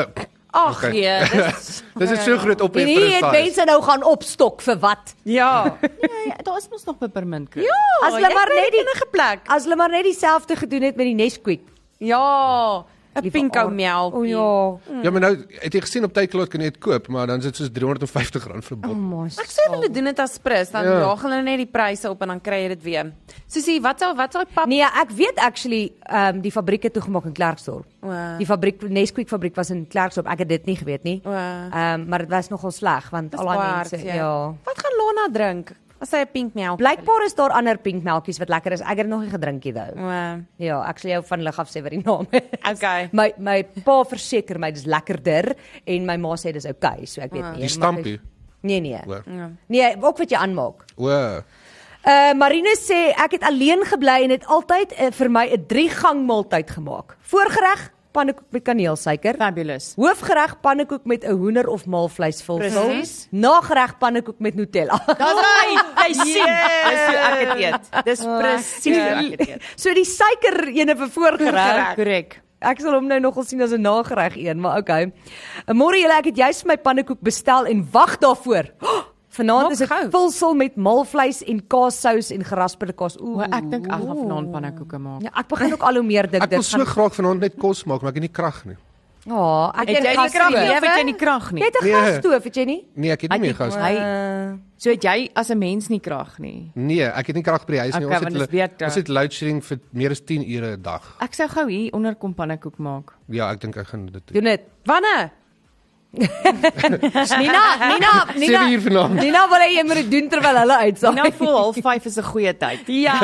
[SPEAKER 5] Ag
[SPEAKER 4] Okay.
[SPEAKER 5] nee, dis
[SPEAKER 4] dis is so groot op
[SPEAKER 2] En hier het mense nou gaan opstok vir wat?
[SPEAKER 5] ja.
[SPEAKER 3] Nee, daar is mos nog pepermint. Ja.
[SPEAKER 2] As hulle
[SPEAKER 5] Oh, jy
[SPEAKER 2] maar
[SPEAKER 5] kry
[SPEAKER 2] net
[SPEAKER 5] dit
[SPEAKER 2] die-
[SPEAKER 5] enige plek.
[SPEAKER 2] As hulle maar net dieselfde gedoen het met die Nesquik.
[SPEAKER 5] Ja, 'n
[SPEAKER 2] Liewe
[SPEAKER 5] pinko
[SPEAKER 2] aard.
[SPEAKER 5] melk.
[SPEAKER 2] O ja.
[SPEAKER 4] Ja, maar nou het jy gesien op Takealot kan jy dit koop, maar dan is dit soos R350 vir 'n bottel.
[SPEAKER 2] Mos.
[SPEAKER 5] Ek sê hulle doen dit as prys, dan
[SPEAKER 4] Ja.
[SPEAKER 5] ja. jaag hulle net die pryse op en dan kry jy dit weer. Susie, wat sou wat sou die pap
[SPEAKER 2] Nee, ek weet actually ehm um, die fabriek het toegemaak in Klerksdorp.
[SPEAKER 5] Wow.
[SPEAKER 2] Die fabriek Nesquik fabriek was in Klerksdorp. Ek het dit nie geweet nie. Ehm
[SPEAKER 5] Wow.
[SPEAKER 2] um, maar dit was nogal sleg want
[SPEAKER 5] Dis
[SPEAKER 2] al daai
[SPEAKER 5] baie
[SPEAKER 2] mense
[SPEAKER 5] hartseer.
[SPEAKER 2] ja.
[SPEAKER 5] Wat gaan Lana drink as sy 'n pink melk?
[SPEAKER 2] Blykbaar is daar ander pinkmelkies wat lekker is. Ek het dit nog nie gedrink nie though.
[SPEAKER 5] Wow.
[SPEAKER 2] Ja, ek sal jou van lig af sê wat die naam is.
[SPEAKER 5] Okay.
[SPEAKER 2] My my pa verseker my dis lekkerder en my ma sê dis okay, so ek weet nie.
[SPEAKER 4] Die
[SPEAKER 2] maar
[SPEAKER 4] stampie.
[SPEAKER 2] ek- Nee nee.
[SPEAKER 4] Hoor.
[SPEAKER 2] Nee, ook wat jy aanmaak.
[SPEAKER 4] O.
[SPEAKER 2] Uh Marinus sê ek het alleen gebly en het altyd uh, vir my 'n 3-gang maaltyd gemaak. Voorgereg pannekoek met kaneelsuiker.
[SPEAKER 3] Fabulous.
[SPEAKER 2] Hoofgereg pannekoek met 'n hoender of maalvleisvulsel.
[SPEAKER 3] Presies.
[SPEAKER 2] Nagereg pannekoek met Nutella.
[SPEAKER 3] Daar's hy. Hy sien. Dis hoe ek dit eet. Dis
[SPEAKER 5] Ja.
[SPEAKER 3] presies hoe ek dit eet.
[SPEAKER 2] so die suiker ene vir voorgereg.
[SPEAKER 3] Korrek.
[SPEAKER 2] Ek sal hom nou nogal sien as 'n nagereg een, maar okay. Uh, Môre julle, ek het juis vir my pannekoek bestel en wag daarvoor. Oh, Vanaand
[SPEAKER 5] Maak
[SPEAKER 2] is dit
[SPEAKER 5] gou.
[SPEAKER 2] vulsel met maalvleis en kaassous en gerasperde kaas. Ooh.
[SPEAKER 3] Maar ek dink ek gaan vanaand pannekoeke maak.
[SPEAKER 2] Ja, ek begin ook al hoe meer dink
[SPEAKER 4] Ek wil
[SPEAKER 2] dit
[SPEAKER 4] so
[SPEAKER 2] gaan.
[SPEAKER 4] graag vanaand net kos maak, maar ek het nie krag nie.
[SPEAKER 2] Ja, oh, ek
[SPEAKER 3] Het jy nie krag nie, of het jy nie krag
[SPEAKER 2] Jy
[SPEAKER 3] nie?
[SPEAKER 2] het 'n
[SPEAKER 4] Nee.
[SPEAKER 2] gasstoof, het jy nie?
[SPEAKER 4] Nee, ek het nie
[SPEAKER 3] Ek
[SPEAKER 4] meer
[SPEAKER 3] het-
[SPEAKER 4] gas nie.
[SPEAKER 3] Hy-
[SPEAKER 2] Uh,
[SPEAKER 3] So het jy as 'n mens nie krag nie.
[SPEAKER 4] Nee, ek het nie krag by die huis nie. Ons
[SPEAKER 3] Okay,
[SPEAKER 4] het
[SPEAKER 3] want dis
[SPEAKER 4] hulle-
[SPEAKER 3] beter.
[SPEAKER 4] ons het load shedding vir meer as 10 ure 'n dag.
[SPEAKER 3] Ek sou gou hier onder kom pannekoek maak.
[SPEAKER 4] Ja, ek dink ek gaan dit doen.
[SPEAKER 2] doen dit.
[SPEAKER 5] Wanneer?
[SPEAKER 2] Nina, Nina, Nina.
[SPEAKER 4] 7 uur vanaand.
[SPEAKER 2] Nina wil hê jy moet dit doen terwyl hulle uitsaai.
[SPEAKER 3] Nou voel half 5 is 'n goeie tyd.
[SPEAKER 2] Ja.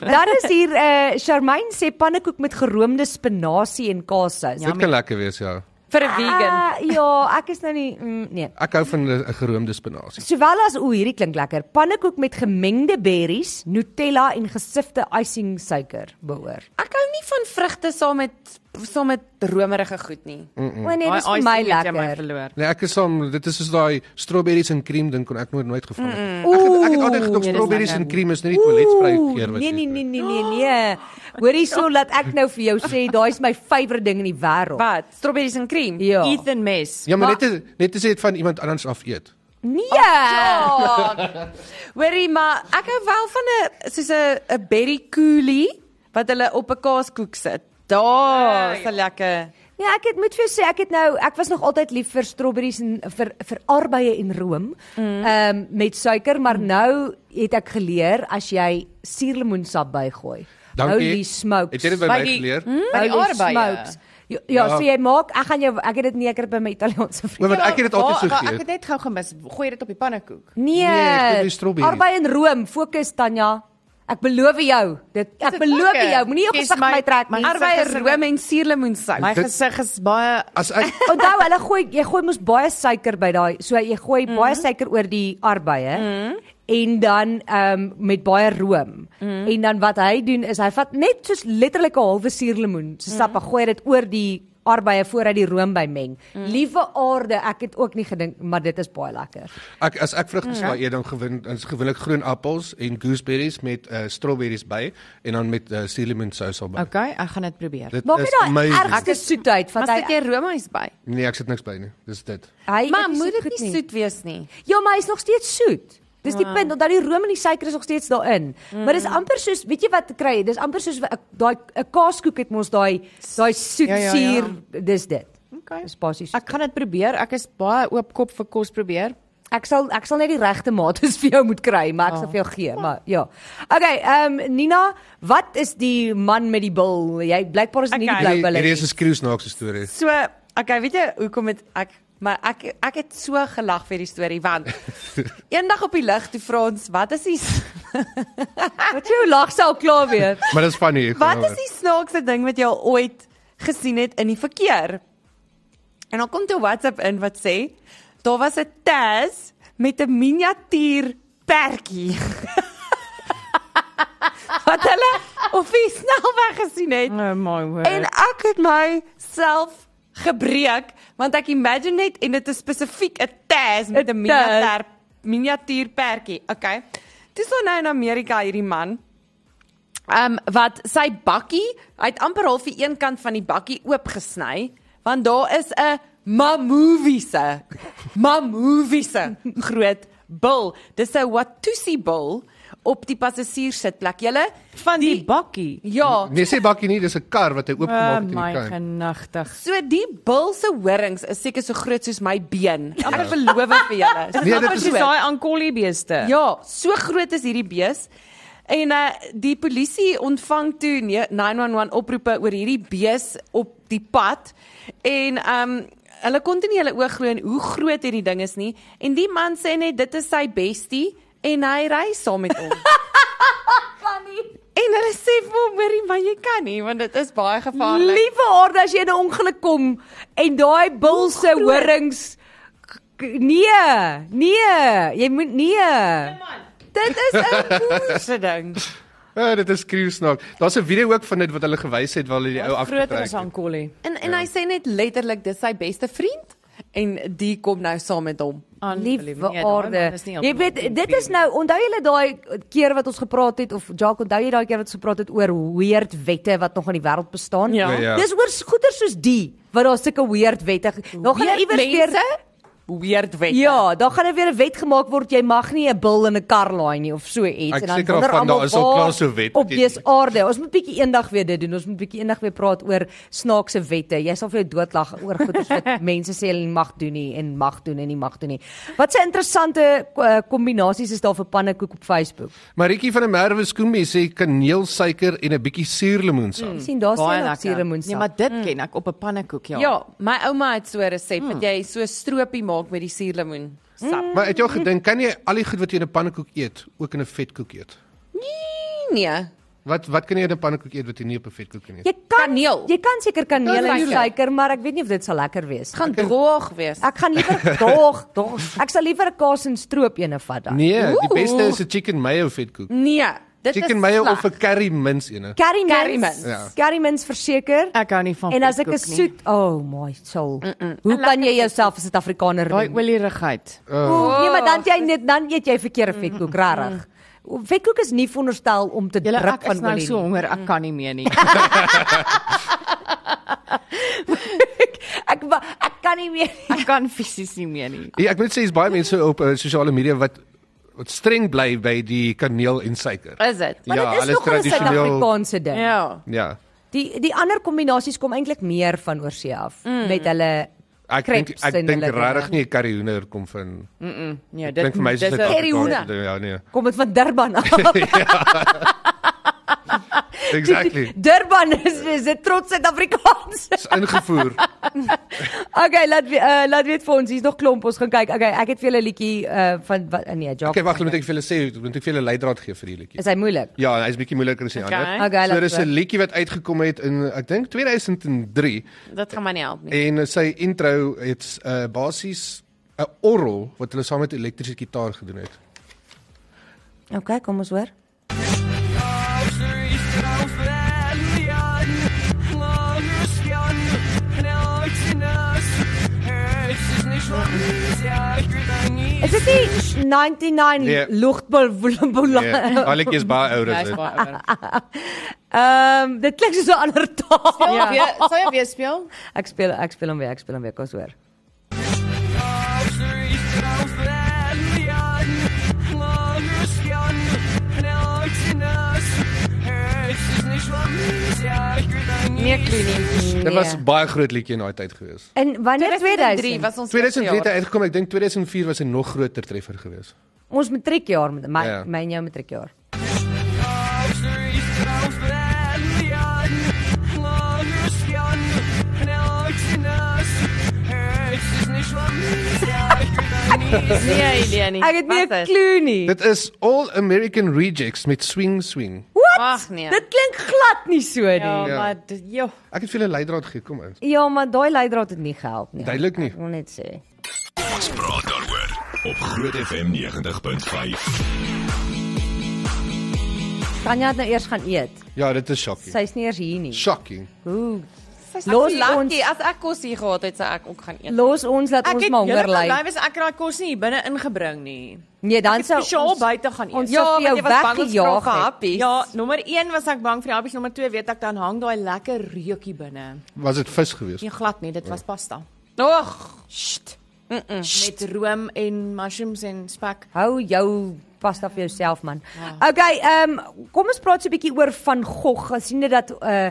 [SPEAKER 2] Dan is hier eh uh, Charmaine sê pannekoek met geroomde spinasie en kaassous.
[SPEAKER 4] Dit kan lekker wees, ja.
[SPEAKER 5] Vir 'n vegan.
[SPEAKER 2] Ah, ja, ek is nou nie mm, nee.
[SPEAKER 4] Ek hou van 'n geroomde spinasie.
[SPEAKER 2] Sowel as o, hierdie klink lekker. Pannekoek met gemengde berries, Nutella en gesifte icing suiker behoor.
[SPEAKER 5] Ek hou nie van vrugte saam met saam met romerige goed nie.
[SPEAKER 2] Mm -mm. O nee, dis
[SPEAKER 3] Daai
[SPEAKER 2] vir my
[SPEAKER 3] icing het jy my
[SPEAKER 2] lekker.
[SPEAKER 3] verloor.
[SPEAKER 4] Nee, ek is saam, dit is soos daai strawberries en cream ding kon ek nooit nooit gevang het. Ek het ek het altyd gedoen
[SPEAKER 3] dis
[SPEAKER 4] strawberries
[SPEAKER 3] lekker.
[SPEAKER 4] en cream is nie die toiletsprei keer wat.
[SPEAKER 2] Nee
[SPEAKER 4] jy
[SPEAKER 2] nee
[SPEAKER 4] het
[SPEAKER 2] nee nee nee nee. Hoor hierso laat ek nou vir jou sê, daai is my favourite ding in die wêreld.
[SPEAKER 5] Wat? Strawberries en cream.
[SPEAKER 2] Ja.
[SPEAKER 3] Ethan Mess.
[SPEAKER 4] Ja, maar
[SPEAKER 3] Wat?
[SPEAKER 4] net is- net is dit van iemand anders af eet.
[SPEAKER 2] Nee.
[SPEAKER 5] Ja. Hoorie, maar ek hou wel van 'n soos 'n 'n berry coolie wat hulle op 'n kaaskoek sit. Daar, is 'n lekker.
[SPEAKER 2] Ja, ek het moet vir jou sê ek het nou ek was nog altyd lief vir strawberries en vir vir arbeie en room. Ehm
[SPEAKER 3] Mm.
[SPEAKER 2] met suiker, maar nou het ek geleer as jy suurlemoensap bygooi.
[SPEAKER 4] Dankie.
[SPEAKER 2] Holy smokes.
[SPEAKER 4] Het jy dit by my
[SPEAKER 3] By die-
[SPEAKER 4] geleer?
[SPEAKER 2] Hmm?
[SPEAKER 3] by die
[SPEAKER 2] Holy
[SPEAKER 3] arbeie?
[SPEAKER 2] smokes. Ja, ja,
[SPEAKER 4] Ja.
[SPEAKER 2] so jy maak, ek gaan jou ek het dit nie ek het dit by my Italiaanse
[SPEAKER 4] O,
[SPEAKER 2] vriend.
[SPEAKER 4] Ja, want ek het dit altyd so
[SPEAKER 3] Waar- waar- Ja, Ek
[SPEAKER 4] geëet.
[SPEAKER 3] het net gou gemis. Gooi dit op die pannekoek.
[SPEAKER 2] Nee,
[SPEAKER 4] Nee, gooi die strawberries.
[SPEAKER 2] arbeie en room, fokus Tanya. Ek beloof jou, dit ek
[SPEAKER 3] dit
[SPEAKER 2] beloof
[SPEAKER 3] lekker?
[SPEAKER 2] jou, moenie jou
[SPEAKER 3] Kies
[SPEAKER 2] gesig
[SPEAKER 3] my-
[SPEAKER 2] my, my trek
[SPEAKER 3] my
[SPEAKER 2] nie.
[SPEAKER 3] gesig
[SPEAKER 5] Arbei
[SPEAKER 3] is er-
[SPEAKER 5] room en suurlemoensap.
[SPEAKER 3] My
[SPEAKER 4] Dit-
[SPEAKER 3] gesig is baie
[SPEAKER 4] As ek
[SPEAKER 2] Onthou, hulle gooi jy gooi mos baie suiker by daai. So jy gooi
[SPEAKER 3] Mhm.
[SPEAKER 2] mm. baie suiker oor die arbeie. Mm. En dan ehm um, met baie room. Mm.
[SPEAKER 3] Mhm. Mhm.
[SPEAKER 2] En dan wat hy doen is hy vat net soos letterlik 'n halwe suurlemoen, so sap, mm. gooi dit oor die arbeie voordat die room by meng. Mm. Liewe aarde, ek het ook nie gedink maar dit is baie lekker.
[SPEAKER 4] Ek as ek vrugteslaai eet dan gewin is gewoonlik groen appels en gooseberries met uh, strawberries by en dan met uh, suurlemoensous al by. Okay.
[SPEAKER 3] Okay, ek gaan dit probeer.
[SPEAKER 4] Dit
[SPEAKER 2] Maak nou
[SPEAKER 4] is
[SPEAKER 2] net daai
[SPEAKER 4] amazing.
[SPEAKER 2] ergste soetheid
[SPEAKER 5] Maar
[SPEAKER 2] wat
[SPEAKER 5] sit
[SPEAKER 2] hy
[SPEAKER 5] jy roomys by?
[SPEAKER 4] Nee, ek sit niks by nie. Dis dit.
[SPEAKER 2] hy eet
[SPEAKER 5] Maar
[SPEAKER 2] nie
[SPEAKER 5] moet
[SPEAKER 2] goed
[SPEAKER 5] dit nie soet wees nie.
[SPEAKER 2] Ja, maar hy's nog steeds soet. Dis die punt omdat die room en die suiker is nog steeds daarin. Mm. Maar dis amper soos, weet jy wat kry? Dis amper soos 'n- daai 'n kaaskoek het mos daai daai soet
[SPEAKER 3] Ja,
[SPEAKER 2] ja,
[SPEAKER 3] ja, ja.
[SPEAKER 2] ja, suur, dis dit.
[SPEAKER 3] Okay.
[SPEAKER 2] Dis basies. Ek,
[SPEAKER 3] Ek gaan dit probeer. Ek is baie oop kop vir kos probeer.
[SPEAKER 2] ek sal ek sal net die regte maats vir jou moet kry, maar ek sal vir jou gee, maar ja. Okay, ehm um, Nina, wat is die man met die bil? Jy blykbaar is dit nie
[SPEAKER 5] Okay.
[SPEAKER 2] die blou bil
[SPEAKER 4] Hierdie
[SPEAKER 2] nie.
[SPEAKER 4] is 'n skreeusnaakse storie.
[SPEAKER 5] So, okay, weet jy hoekom het ek maar ek ek het so gelag vir die storie want eendag op die lig toe vra ons wat is die
[SPEAKER 2] Wat jou lag sal klaar weer.
[SPEAKER 4] Maar dis funny. ek nou
[SPEAKER 5] wat
[SPEAKER 4] glo.
[SPEAKER 5] is die snaakste ding wat jy al ooit gesien het in die verkeer? En dan kom toe WhatsApp in wat sê daar was 'n tas met 'n miniatuur perdjie. wat hulle of hy snel weggesien het.
[SPEAKER 3] Oh my
[SPEAKER 5] En
[SPEAKER 3] word.
[SPEAKER 5] ek het myself gebreek want ek imagine net en dit is spesifiek 'n tas met 'n
[SPEAKER 2] Een
[SPEAKER 5] miniatuur miniatuur perdjie. Okay. Dis nou nou in Amerika hierdie man. Ehm um, wat sy bakkie, hy het amper half die een kant van die bakkie oopgesny want daar is 'n mamoviese mamoviese groot bil. Dis 'n Watusi bil op die passasierssitplek. Julle
[SPEAKER 3] Van die bakkie.
[SPEAKER 5] ja,
[SPEAKER 4] Nee, sê bakkie nie, dis 'n kar wat hy
[SPEAKER 3] Oh
[SPEAKER 4] oopgemaak het in
[SPEAKER 3] my
[SPEAKER 4] die kar.
[SPEAKER 3] genigtig.
[SPEAKER 5] So die bil se horings is seker so groot soos my been. Amper beloof ek vir julle. Is
[SPEAKER 4] Ja. Nee, dit
[SPEAKER 5] amper
[SPEAKER 4] is
[SPEAKER 5] so?
[SPEAKER 3] Dis daai Ankolli beeste.
[SPEAKER 5] Ja, so groot is hierdie bees. En uh die polisie ontvang toe nee, ne- 911 oproepe oor hierdie bees op die pad en um hulle kon toe nie hulle oog glo in hoe groot hierdie ding is nie en die man sê net dit is sy bestie en hy ry saam met hom. En hulle sê vir hom, "Hoorie, maar jy kan nie want dit is baie gevaarlik."
[SPEAKER 2] Liewe aarde as jy in 'n ongeluk kom en daai bil se horings k- k- nee, nee, jy moet nee. Dit is 'n
[SPEAKER 5] se ding.
[SPEAKER 4] Ja, dit is skreeusnaak. Daar's 'n video ook van dit wat hulle gewys het waar hulle die ou
[SPEAKER 3] Groter
[SPEAKER 4] afgetrek
[SPEAKER 3] as
[SPEAKER 4] het.
[SPEAKER 3] Ankolli.
[SPEAKER 5] En en hy sê net letterlik dis sy beste vriend en die kom nou saam met hom.
[SPEAKER 3] Nee,
[SPEAKER 2] liewe aarde. Jy weet dit is nou onthou julle daai keer wat ons gepraat het of Jacques onthou jy daai keer wat ons gepraat het oor weird wette wat nog in die wêreld bestaan?
[SPEAKER 3] Ja.
[SPEAKER 4] Ja, ja.
[SPEAKER 2] Dis oor goeder soos die wat daar sulke weird wette. Nou gaan
[SPEAKER 5] Weird
[SPEAKER 2] iewers weer
[SPEAKER 5] mense?
[SPEAKER 3] eh,
[SPEAKER 5] weird wet.
[SPEAKER 2] Ja, daar gaan er weer 'n wet gemaak word jy mag nie 'n bil in 'n kar laai nie of so iets
[SPEAKER 4] Ek
[SPEAKER 2] en dan
[SPEAKER 4] seker
[SPEAKER 2] wonder
[SPEAKER 4] daarvan,
[SPEAKER 2] almal
[SPEAKER 4] daar is al
[SPEAKER 2] waar
[SPEAKER 4] klaar so 'n wet.
[SPEAKER 2] Op dese aarde, ons moet bietjie eendag weer dit doen. Ons moet bietjie eendag weer praat oor snaakse wette. Jy sal vir jou doodlag oor goeders wat mense sê hulle nie mag doen nie en mag doen en nie mag doen nie. Wat se interessante eh, kombinasies is daar vir pannekoek op Facebook.
[SPEAKER 4] Maritjie van der Merwe Skoomie sê kaneelsuiker en 'n bietjie suurlemoensap.
[SPEAKER 2] Ek sien daar
[SPEAKER 3] Baie
[SPEAKER 2] sien nog
[SPEAKER 3] lekker.
[SPEAKER 2] suurlemoensap.
[SPEAKER 3] Nee, maar dit ken ek op 'n pannekoek, ja.
[SPEAKER 5] Ja, my ouma het so 'n resep wat jy so stroopie maak met die suurlemoen sap.
[SPEAKER 4] Maar het jy al gedink kan jy al die goed wat jy in 'n pannekoek eet, ook in 'n vetkoek eet?
[SPEAKER 5] Nee.
[SPEAKER 4] Wat wat kan jy in 'n pannekoek eet wat jy nie op 'n vetkoek kan eet?
[SPEAKER 2] jy kan
[SPEAKER 5] Kaneel.
[SPEAKER 2] jy kan seker
[SPEAKER 4] Ja,
[SPEAKER 2] kaneel en
[SPEAKER 5] Kaneel.
[SPEAKER 2] suiker, maar ek weet nie of dit sal lekker wees.
[SPEAKER 5] Gaan droog wees.
[SPEAKER 2] Ek gaan liewer dog, dog. Ek sal liewer 'n kaas en stroop ene vat dan.
[SPEAKER 4] Nee, die
[SPEAKER 5] Oeh.
[SPEAKER 4] beste is 'n chicken mayo vetkoek.
[SPEAKER 5] Nee, dit is
[SPEAKER 4] Chicken mayo of
[SPEAKER 5] sleg.
[SPEAKER 4] 'n curry mince ene.
[SPEAKER 2] Curry mince.
[SPEAKER 5] Curry mince.
[SPEAKER 4] Ja.
[SPEAKER 2] Curry mince verseker.
[SPEAKER 3] Ek hou nie van
[SPEAKER 2] En as ek 'n
[SPEAKER 3] vetkoek nie.
[SPEAKER 2] soet, o oh my soul. Mm -mm. Hoe kan jy jouself as 'n Suid-Afrikaner
[SPEAKER 3] Daai
[SPEAKER 2] noem?
[SPEAKER 3] olierigheid.
[SPEAKER 2] Oh. Nee, maar dan het jy net dan eet jy verkeerde vetkoek, regtig. Vetkoek is nie veronderstel om te
[SPEAKER 3] Julle
[SPEAKER 2] drup
[SPEAKER 3] ek is
[SPEAKER 2] van
[SPEAKER 3] nou
[SPEAKER 2] olie.
[SPEAKER 3] so
[SPEAKER 2] nie.
[SPEAKER 3] honger, ek kan nie meer nie.
[SPEAKER 2] Ek wa- ek kan nie meer.
[SPEAKER 3] Ek kan fisies nie meer nie.
[SPEAKER 4] Ja, ek moet sê is baie mense op uh, sosiale media wat wat streng bly by die kaneel en suiker.
[SPEAKER 5] Is dit?
[SPEAKER 2] Maar
[SPEAKER 4] Ja,
[SPEAKER 2] dit is
[SPEAKER 4] alles
[SPEAKER 2] nog 'n
[SPEAKER 4] tradisioneel-
[SPEAKER 2] Suid-Afrikaanse ding.
[SPEAKER 5] Ja.
[SPEAKER 4] Ja.
[SPEAKER 2] Die die ander kombinasies kom eintlik meer van oorsee af mm. met hulle
[SPEAKER 4] Ek dink
[SPEAKER 2] crepes
[SPEAKER 4] ek
[SPEAKER 2] en
[SPEAKER 4] dink
[SPEAKER 2] hulle
[SPEAKER 4] regtig
[SPEAKER 2] dinge.
[SPEAKER 4] nie 'n curry hoender kom van
[SPEAKER 3] Ja, dit
[SPEAKER 4] Dink vir my is
[SPEAKER 3] dis 'n-
[SPEAKER 4] dit
[SPEAKER 5] hoender.
[SPEAKER 4] Ja, nee.
[SPEAKER 2] Kom dit van Durban af.
[SPEAKER 4] Exactly.
[SPEAKER 2] Durban is is 'n trots Suid-Afrikaanse.
[SPEAKER 4] Is ingevoer.
[SPEAKER 2] Okay, laat we- uh, laat weet vir ons, hier's nog klomp, ons gaan kyk. Okay, ek het vir julle 'n liedjie uh, van wat uh, nee, Jacques.
[SPEAKER 4] Okay, wag, moet ek vir julle sê, moet ek vir julle leidraad gee vir hierdie liedjie.
[SPEAKER 2] Is hy moeilik?
[SPEAKER 4] Ja, hy's bietjie moeiliker as die
[SPEAKER 5] Okay.
[SPEAKER 4] ander.
[SPEAKER 2] Okay,
[SPEAKER 4] so
[SPEAKER 2] laat
[SPEAKER 6] er
[SPEAKER 4] dis 'n
[SPEAKER 2] hoor.
[SPEAKER 4] liedjie wat uitgekom het in ek dink 2003
[SPEAKER 5] Dit gaan my nie help nie.
[SPEAKER 4] en sy intro it's
[SPEAKER 6] eh,
[SPEAKER 4] uh, basies 'n orgel wat hulle saam met 'n elektriese gitaar gedoen het.
[SPEAKER 2] Okay, Nou, kom ons hoor.
[SPEAKER 6] Close that neon, close your skin, now
[SPEAKER 2] 99
[SPEAKER 6] Nee.
[SPEAKER 2] luchtbel
[SPEAKER 6] Nee,
[SPEAKER 2] Ja.
[SPEAKER 6] Alletjie is baie ouer as
[SPEAKER 5] Hy's
[SPEAKER 6] dit.
[SPEAKER 5] baie ouer.
[SPEAKER 2] Ehm dit klink soos 'n ander taal.
[SPEAKER 3] Ja, weer, sou jy weer speel?
[SPEAKER 2] Ek speel ek speel hom weer, ek speel hom weer, kom ons hoor.
[SPEAKER 5] Nee, Clooney.
[SPEAKER 6] Dit was baie groot liedjie in daai tyd gewees.
[SPEAKER 2] En wanneer
[SPEAKER 5] 2003
[SPEAKER 2] 2000?
[SPEAKER 5] was ons
[SPEAKER 6] 2003 het
[SPEAKER 5] eerste
[SPEAKER 6] hy
[SPEAKER 5] jaar.
[SPEAKER 6] uitgekom. Ek dink 2004 was 'n nog groter treffer gewees.
[SPEAKER 2] Ons matriekjaar met my
[SPEAKER 6] Ja.
[SPEAKER 2] my en jou matriekjaar.
[SPEAKER 5] Nee, idee nie.
[SPEAKER 2] Ek het nie 'n klou nie.
[SPEAKER 6] Dit is All American Rejects met Swing Swing.
[SPEAKER 2] What?
[SPEAKER 5] Ag, nee.
[SPEAKER 2] Dit klink glad nie so
[SPEAKER 3] Ja,
[SPEAKER 2] nie. Ja,
[SPEAKER 3] maar dit- joh.
[SPEAKER 6] Ek het vir julle leidraad gegee, kom in.
[SPEAKER 2] ja maar daai leidraad het nie gehelp nie.
[SPEAKER 6] Duidelik nie.
[SPEAKER 2] Ek wil net sê.
[SPEAKER 1] Ons praat daaroor op Groot FM 90.5.
[SPEAKER 2] Kan jy dit nou eers gaan eet?
[SPEAKER 6] Ja, dit is shocking.
[SPEAKER 2] Sy's nie eers hier nie.
[SPEAKER 6] Shocking.
[SPEAKER 2] Ooh.
[SPEAKER 5] Los
[SPEAKER 2] Los
[SPEAKER 5] ons.
[SPEAKER 2] ons
[SPEAKER 5] As ek kos hier gehad het, sou ek ook gaan eet.
[SPEAKER 2] los ons dat
[SPEAKER 3] Ek
[SPEAKER 2] ons
[SPEAKER 3] het
[SPEAKER 2] maar honger
[SPEAKER 3] julle
[SPEAKER 2] ly.
[SPEAKER 3] bly was ek het daai kos nie binne ingebring nie.
[SPEAKER 2] Nee, dan sou
[SPEAKER 3] Spesiaal
[SPEAKER 2] ons
[SPEAKER 3] buite gaan eet.
[SPEAKER 2] ons
[SPEAKER 5] Ja,
[SPEAKER 2] sou vir jou weggejaag het.
[SPEAKER 5] happies.
[SPEAKER 3] Ja, nommer 1 was ek bang vir die happies, nommer 2 weet ek dan hang daai lekker reukie binne.
[SPEAKER 6] Was dit vis gewees?
[SPEAKER 3] Nee, glad nie, dit
[SPEAKER 2] Oh.
[SPEAKER 3] was pasta.
[SPEAKER 5] Nog.
[SPEAKER 3] Met room en mushrooms en spek.
[SPEAKER 2] Hou jou pasta vir jouself man.
[SPEAKER 3] Ja.
[SPEAKER 2] Okay, ehm kom ons praat so 'n bietjie oor van Gogh. Gesien dit dat uh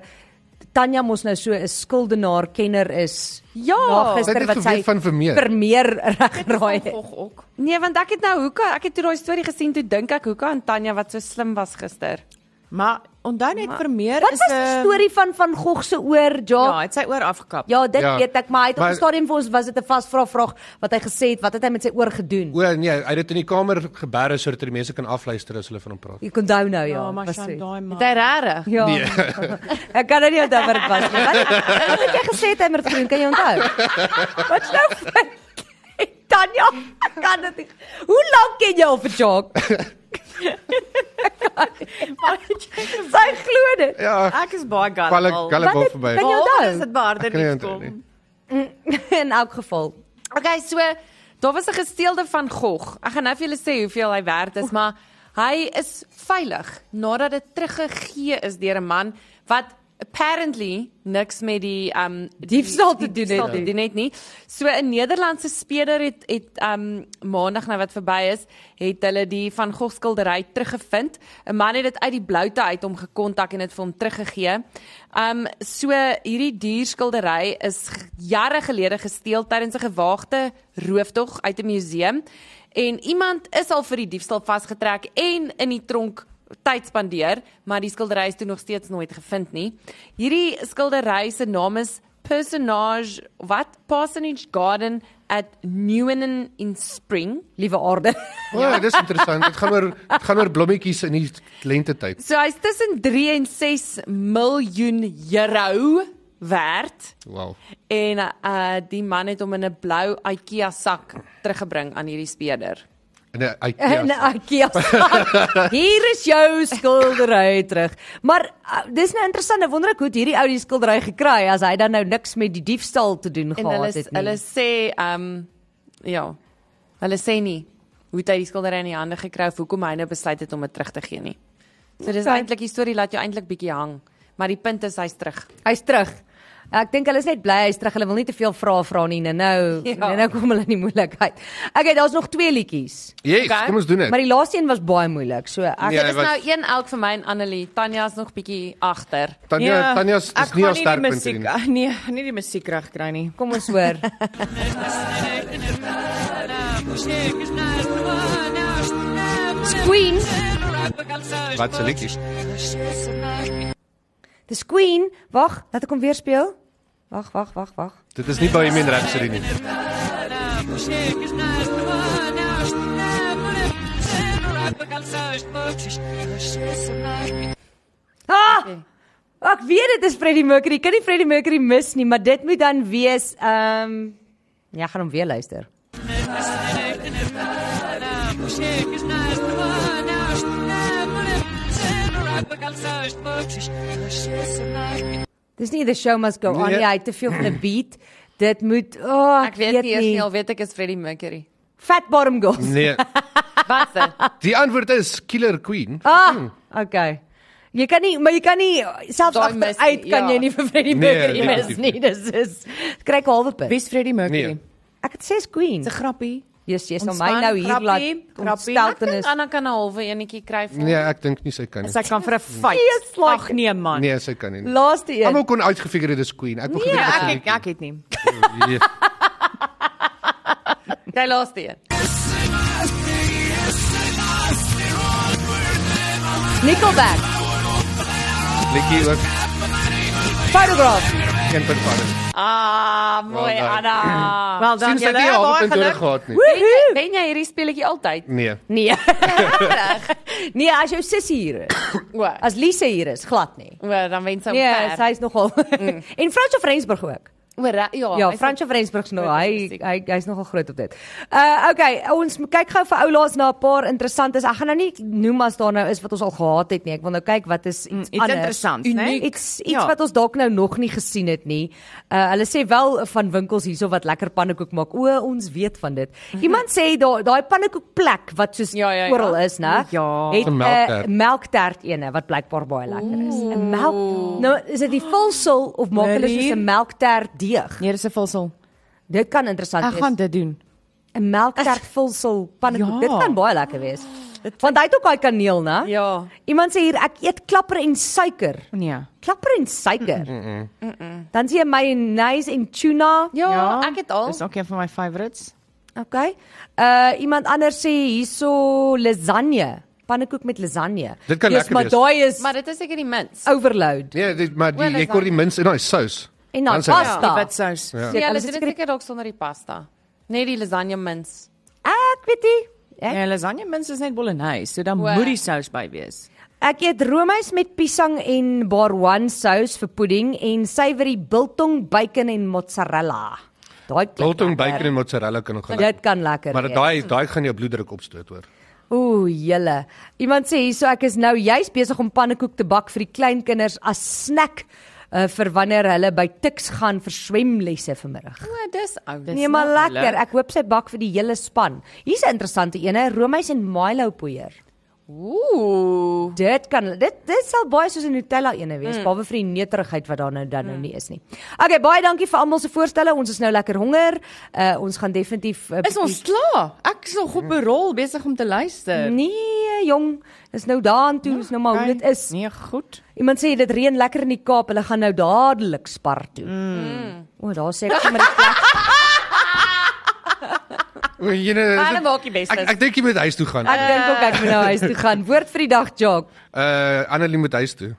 [SPEAKER 2] Tanya mos nou so 'n skuldenaar kenner is.
[SPEAKER 3] Ja.
[SPEAKER 2] na
[SPEAKER 6] Sy
[SPEAKER 2] gister
[SPEAKER 6] het
[SPEAKER 2] wat
[SPEAKER 6] Oh, dit
[SPEAKER 2] sy
[SPEAKER 6] geweet van Vermeer.
[SPEAKER 2] Vermeer regraai het.
[SPEAKER 3] Gog ook.
[SPEAKER 5] Nee, want ek het nou Hoeka, ek het toe daai storie gesien, toe dink ek Hoeka en Tanya wat so slim was gister.
[SPEAKER 3] Maar onthou net Vermeer
[SPEAKER 2] Wat
[SPEAKER 3] is
[SPEAKER 2] was die
[SPEAKER 3] 'n-
[SPEAKER 2] storie van van Gogh se oor
[SPEAKER 3] Ja,
[SPEAKER 2] ja?
[SPEAKER 3] het sy oor afgekap.
[SPEAKER 2] Ja, dit
[SPEAKER 6] Ja,
[SPEAKER 2] weet ek, maar hy het op
[SPEAKER 6] maar-
[SPEAKER 2] 'n stadium vir ons was dit 'n vasvra vraag wat hy gesê het, wat het hy met sy oor gedoen?
[SPEAKER 6] O nee, hy het dit in die kamer geberre sodat die mense kan afluister as hulle van hom praat.
[SPEAKER 2] Jy kon onthou nou ja,
[SPEAKER 3] ja maar
[SPEAKER 2] was
[SPEAKER 3] sy
[SPEAKER 2] so.
[SPEAKER 3] daai man.
[SPEAKER 5] Het hy regtig?
[SPEAKER 2] Ja. Nee. ek kan dit nie onthou wat dit was nie. Wat wat het jy gesê het hy met groen? Kan jy onthou? Wat nou? vir- Tanya, ek kan dit. nie. Hoe lank ken jy al vir Jock? Sy glo dit.
[SPEAKER 6] Ja,
[SPEAKER 3] Ek is baie
[SPEAKER 6] Kalle
[SPEAKER 3] gullible.
[SPEAKER 6] Kalle
[SPEAKER 2] Wat
[SPEAKER 6] wou
[SPEAKER 2] het-
[SPEAKER 6] verby.
[SPEAKER 2] kan jy
[SPEAKER 3] Behalwe
[SPEAKER 2] onthou?
[SPEAKER 3] as dit beharder
[SPEAKER 6] Ek kan nie
[SPEAKER 3] nie
[SPEAKER 6] onthou
[SPEAKER 3] kom.
[SPEAKER 6] nie.
[SPEAKER 2] In elk geval.
[SPEAKER 5] Okay, so daar was 'n gesteelde van Gogh. Ek gaan nou vir julle sê hoeveel hy werd is, maar hy is veilig nadat dit teruggegee is deur 'n man wat apparently niks met die um
[SPEAKER 2] Diefstal te doen het
[SPEAKER 5] diefstal
[SPEAKER 2] nie.
[SPEAKER 5] te doen het nie. So 'n Nederlandse speler het het um maandag nou wat verby is, het hulle die van Gogh skildery teruggevind. 'n Man het dit uit die bloute uit hom gekontak en dit vir hom teruggegee. Um so hierdie duur skildery is g- jare gelede gesteel tydens 'n gewaagde rooftog uit 'n museum en iemand is al vir die diefstal vasgetrek en in die tronk tyd spandeer, maar die skildery is toe nog steeds nooit gevind nie. Hierdie skildery se naam is personage wat Parsonage Garden at Newenen in Spring.
[SPEAKER 2] Liewe aarde.
[SPEAKER 6] O, ja, dis interessant. Dit gaan oor dit gaan oor blommetjies in die lente tyd.
[SPEAKER 5] So hy's tussen 3 en 6 miljoen euro werd
[SPEAKER 6] Wow.
[SPEAKER 5] en uh die man het hom in 'n blou IKEA sak teruggebring aan hierdie speerder.
[SPEAKER 6] In 'n
[SPEAKER 2] In
[SPEAKER 6] IKEA.
[SPEAKER 2] 'n IKEA. sak. Hier is jou skildery terug. Maar uh, dis nou interessant. Ek wonder ek hoe het hierdie ou die skildery gekry as hy dan nou niks met die diefstal te doen
[SPEAKER 5] En hulle
[SPEAKER 2] gehad het nie.
[SPEAKER 5] hulle sê um ja, hulle sê nie hoe het hy die skildery in die hande gekry of hoekom hy nou besluit het om dit terug te gee nie. So dis
[SPEAKER 2] Okay.
[SPEAKER 5] eintlik die storie laat jou eintlik bietjie hang, maar die punt is hy's terug.
[SPEAKER 2] Hy's terug. Ek dink hulle is net bly hy's terug. Hulle wil nie te veel vrae vra nie. Nou nou,
[SPEAKER 5] Ja.
[SPEAKER 2] ja. nou kom hulle in die moeilikheid. Okay, daar's nog twee liedjies.
[SPEAKER 6] Yes,
[SPEAKER 5] Okay.
[SPEAKER 6] kom ons doen
[SPEAKER 2] Maar
[SPEAKER 6] dit.
[SPEAKER 2] die laaste een was baie moeilik. So ek
[SPEAKER 4] Ja,
[SPEAKER 6] Nee,
[SPEAKER 5] Dit is
[SPEAKER 6] wat-
[SPEAKER 5] nou een elk vir my en Annelie. Tanya is nog bietjie agter.
[SPEAKER 6] Tanya, Tanya se
[SPEAKER 3] Ja, ek
[SPEAKER 6] is
[SPEAKER 3] gaan
[SPEAKER 6] nie haar
[SPEAKER 3] die
[SPEAKER 6] sterkpunt
[SPEAKER 3] musiek-
[SPEAKER 6] nie.
[SPEAKER 3] Ah, Nee, nie die musiek reg kry nie.
[SPEAKER 2] kom ons hoor. Queen,
[SPEAKER 6] Wat se liedjies?
[SPEAKER 2] dis Queen. Wag, laat ek hom weer speel. Wag, wag, wag, wag.
[SPEAKER 6] Dit is nie Bohemian Rhapsody nie.
[SPEAKER 2] Ah! Ek weet dit is Freddie Mercury. Ek Kan nie Freddie Mercury mis nie, maar dit moet dan wees ehm um, ja, ek gaan hom weer luister. Dis nie the show must go on
[SPEAKER 6] Nee.
[SPEAKER 2] nie. Hy het te veel van 'n beat. Dit moet oh,
[SPEAKER 5] Ek weet nie eers nie, al weet ek is Freddie Mercury.
[SPEAKER 2] Fat Bottom Girls.
[SPEAKER 6] Nee.
[SPEAKER 5] Watse?
[SPEAKER 4] Die antwoord is Killer Queen.
[SPEAKER 5] Hmm.
[SPEAKER 2] Ah, okay. Jy kan nie, maar jy kan nie selfs
[SPEAKER 5] Daai mis nie,
[SPEAKER 2] agteruit kan
[SPEAKER 5] ja.
[SPEAKER 2] jy nie vir Freddie
[SPEAKER 4] Nee,
[SPEAKER 2] Mercury mis
[SPEAKER 4] definitief
[SPEAKER 2] nie. Dis is kry ek halwe punt.
[SPEAKER 3] Wes Freddie Mercury.
[SPEAKER 4] Nee.
[SPEAKER 2] Ek het ses Queen.
[SPEAKER 3] Dis 'n grappie.
[SPEAKER 2] Jesus, jy sal my
[SPEAKER 5] Ontspan,
[SPEAKER 2] nou hier laat
[SPEAKER 5] grappie, grappie. Ek
[SPEAKER 2] ontsteltenis.
[SPEAKER 5] dink Anna kan 'n halwe enetjie kry vir.
[SPEAKER 4] Nee, ek dink nie sy kan nie.
[SPEAKER 3] Sy kan vir 'n fight.
[SPEAKER 2] Yes, like-
[SPEAKER 3] Ag nee man.
[SPEAKER 4] Nee, sy kan nie.
[SPEAKER 2] Laaste een.
[SPEAKER 4] Almal kon uitgefigure dit is Queen. Ek wil
[SPEAKER 3] Nee,
[SPEAKER 4] geweet
[SPEAKER 3] ek
[SPEAKER 4] het.
[SPEAKER 3] ek, ek het nie.
[SPEAKER 4] Nee.
[SPEAKER 5] Jy laaste een.
[SPEAKER 2] Nickelback.
[SPEAKER 4] Liedjie ook
[SPEAKER 2] Photograph.
[SPEAKER 4] geen punt van.
[SPEAKER 5] Ah, mooi
[SPEAKER 4] Wel done.
[SPEAKER 5] Anna.
[SPEAKER 3] Wel dan
[SPEAKER 4] Sien sy
[SPEAKER 3] julle,
[SPEAKER 4] het nie al
[SPEAKER 3] baie
[SPEAKER 4] punt nodig
[SPEAKER 3] geluk.
[SPEAKER 4] gehad nie.
[SPEAKER 5] Wen jy,
[SPEAKER 2] Woehoe.
[SPEAKER 5] wen jy hierdie speletjie altyd?
[SPEAKER 4] Nee.
[SPEAKER 2] Nee. nee, as jou sussie hier is.
[SPEAKER 5] O, as
[SPEAKER 2] As Lise hier is, glad nie.
[SPEAKER 5] o, dan wen sy
[SPEAKER 2] Nee,
[SPEAKER 5] ver.
[SPEAKER 2] sy's nogal.
[SPEAKER 5] Mm.
[SPEAKER 2] En Fransjo Frensburg ook.
[SPEAKER 5] O, ra- ja,
[SPEAKER 2] Ja,
[SPEAKER 5] hy sê-
[SPEAKER 2] Fransjo Frensburg nou,
[SPEAKER 5] groot op
[SPEAKER 2] hy
[SPEAKER 5] musiek.
[SPEAKER 2] hy hy's nogal groot op dit. Uh okay, ons m- kyk gou vir ou laas na 'n paar interessantes. Ek gaan nou nie noem as daar nou is wat ons al gehad het nie. Ek wil nou kyk wat is iets
[SPEAKER 3] iets
[SPEAKER 2] anders.
[SPEAKER 3] interessants, né? Uniek.
[SPEAKER 2] Iets iets
[SPEAKER 3] Ja.
[SPEAKER 2] wat ons dalk nou nog nie gesien het nie. Uh hulle sê wel van winkels hierso wat lekker pannekoek maak. O, ons weet van dit. Iemand sê daar daai pannekoekplek wat soos
[SPEAKER 5] Ja, ja, ja.
[SPEAKER 2] oral is, né?
[SPEAKER 3] Ja.
[SPEAKER 2] Het 'n
[SPEAKER 4] Een melktert.
[SPEAKER 2] melktert ene wat blykbaar baie lekker is. 'n Melk Nou, is dit die vulsel of maak hulle soos
[SPEAKER 3] Really?
[SPEAKER 2] 'n melktert deeg?
[SPEAKER 3] Nee, dis 'n vulsel.
[SPEAKER 2] Dit kan interessant
[SPEAKER 3] Ek gaan
[SPEAKER 2] wees.
[SPEAKER 3] dit doen.
[SPEAKER 2] 'n Melktert vulsel pannekoek.
[SPEAKER 3] Ja.
[SPEAKER 2] Dit kan baie lekker wees. Want hy het ook daai kaneel, né?
[SPEAKER 5] Ja.
[SPEAKER 2] Iemand sê hier ek eet klapper en suiker.
[SPEAKER 3] Nee.
[SPEAKER 2] Klapper en suiker. Mm -mm. Dan sien jy mayonnaise en tuna.
[SPEAKER 5] Ja, ek het al.
[SPEAKER 3] Dis ook een van my favorites.
[SPEAKER 2] Okay. Uh iemand anders sê hierso lasagne, pannekoek met lasagne.
[SPEAKER 4] Dit kan
[SPEAKER 2] Dis,
[SPEAKER 4] lekker
[SPEAKER 2] maar
[SPEAKER 4] wees.
[SPEAKER 2] daai is
[SPEAKER 5] Maar dit is seker die minst.
[SPEAKER 2] overload.
[SPEAKER 4] Nee, dit, maar die, jy kon die minste in daai sous.
[SPEAKER 2] En
[SPEAKER 5] nou,
[SPEAKER 2] dan
[SPEAKER 4] Dan sy-
[SPEAKER 2] pasta.
[SPEAKER 3] Wit sous. Ja.
[SPEAKER 5] Ja, hulle
[SPEAKER 2] alles
[SPEAKER 5] doen
[SPEAKER 2] is
[SPEAKER 5] dit seker dalk sonder die pasta. Net die lasagne mins.
[SPEAKER 2] Ek weet nie. Ek
[SPEAKER 3] En Ja, lasagne mens is net bolognese, so dan
[SPEAKER 5] Wow.
[SPEAKER 3] moet die sous by wees.
[SPEAKER 2] Ek eet roomys met piesang en barouan sous vir pudding en savory biltong bacon en mozzarella. Daai klink
[SPEAKER 4] Biltong
[SPEAKER 2] lekker.
[SPEAKER 4] bacon en mozzarella kan nog
[SPEAKER 2] Dit
[SPEAKER 4] gaan.
[SPEAKER 2] kan lekker.
[SPEAKER 4] Maar
[SPEAKER 2] wees.
[SPEAKER 4] daai daai gaan jou bloeddruk opstoot hoor.
[SPEAKER 2] Ooh, julle. Iemand sê hierso ek is nou juis besig om pannekoek te bak vir die kleinkinders as snack uh, vir wanneer hulle by Tix gaan vir swemlesse vanmiddag.
[SPEAKER 5] O, dis oud. Dis
[SPEAKER 2] Nee, maar
[SPEAKER 3] nou
[SPEAKER 2] lekker.
[SPEAKER 3] lekker.
[SPEAKER 2] Ek hoop sy bak vir die hele span. Hier's 'n interessante een, roomys en Milo poeier.
[SPEAKER 5] Ooh.
[SPEAKER 2] Dit kan dit dit sal baie soos 'n Nutella ene wees, mm. behalwe vir die neterigheid wat daar nou dan
[SPEAKER 3] Mm.
[SPEAKER 2] nou nie is nie. Okay, baie dankie vir almal se voorstelle. Ons is nou lekker honger. Uh ons gaan definitief uh,
[SPEAKER 3] Is ons klaar? Ek is nog op 'n rol besig om te luister.
[SPEAKER 2] Nee, jong, dis nou daaraan toe, is nou maar hoe dit is.
[SPEAKER 3] Nee, goed.
[SPEAKER 2] Iemand sê dit reën lekker in die Kaap. Hulle gaan nou dadelik Spar toe. Mm. O, daar sê ek sommer die plek.
[SPEAKER 4] O, jy nee,
[SPEAKER 5] Maar hulle
[SPEAKER 4] dit-
[SPEAKER 5] maak die beste.
[SPEAKER 4] Ek ek dink jy moet huis toe gaan.
[SPEAKER 2] Ek dink ook ek moet nou huis toe gaan. Woord vir die dag, Jock.
[SPEAKER 4] Uh Annelie moet huis toe.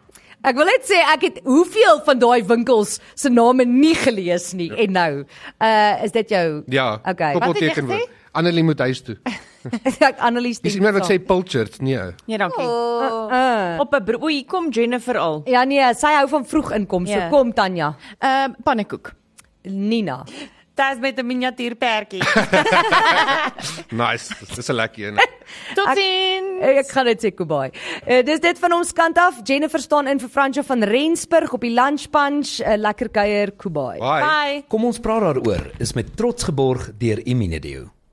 [SPEAKER 2] Ek wil net sê ek het hoeveel van daai winkels se name nie gelees nie en nou. Uh is dit jou?
[SPEAKER 4] Ja.
[SPEAKER 2] Okay.
[SPEAKER 4] Koppelteken
[SPEAKER 5] Wat het jy
[SPEAKER 4] word. Annelie moet huis toe.
[SPEAKER 2] ek analiseer.
[SPEAKER 4] Dis iemand wat sê Pilchard. Nee.
[SPEAKER 3] Nee, dankie. Op 'n bro- oei, kom Jennifer al.
[SPEAKER 2] Ja nee, sy hou van vroeg inkom. So
[SPEAKER 5] Ja.
[SPEAKER 2] kom Tanya.
[SPEAKER 3] Ehm uh, pannekoek.
[SPEAKER 2] Nina.
[SPEAKER 5] Tas met 'n miniatuur perdjie.
[SPEAKER 4] Nice. Dis 'n lekker een.
[SPEAKER 3] Totsiens.
[SPEAKER 2] Eh, Ek gaan dit sê Kobai. Uh, dis dit van ons kant af. Jennifer staan in vir Fransjo van Rensburg op die lunch punch. Uh, lekker kuier Kobai.
[SPEAKER 4] Bye.
[SPEAKER 5] Bye.
[SPEAKER 7] Kom ons praat daaroor is met trots geborg deur Immediate.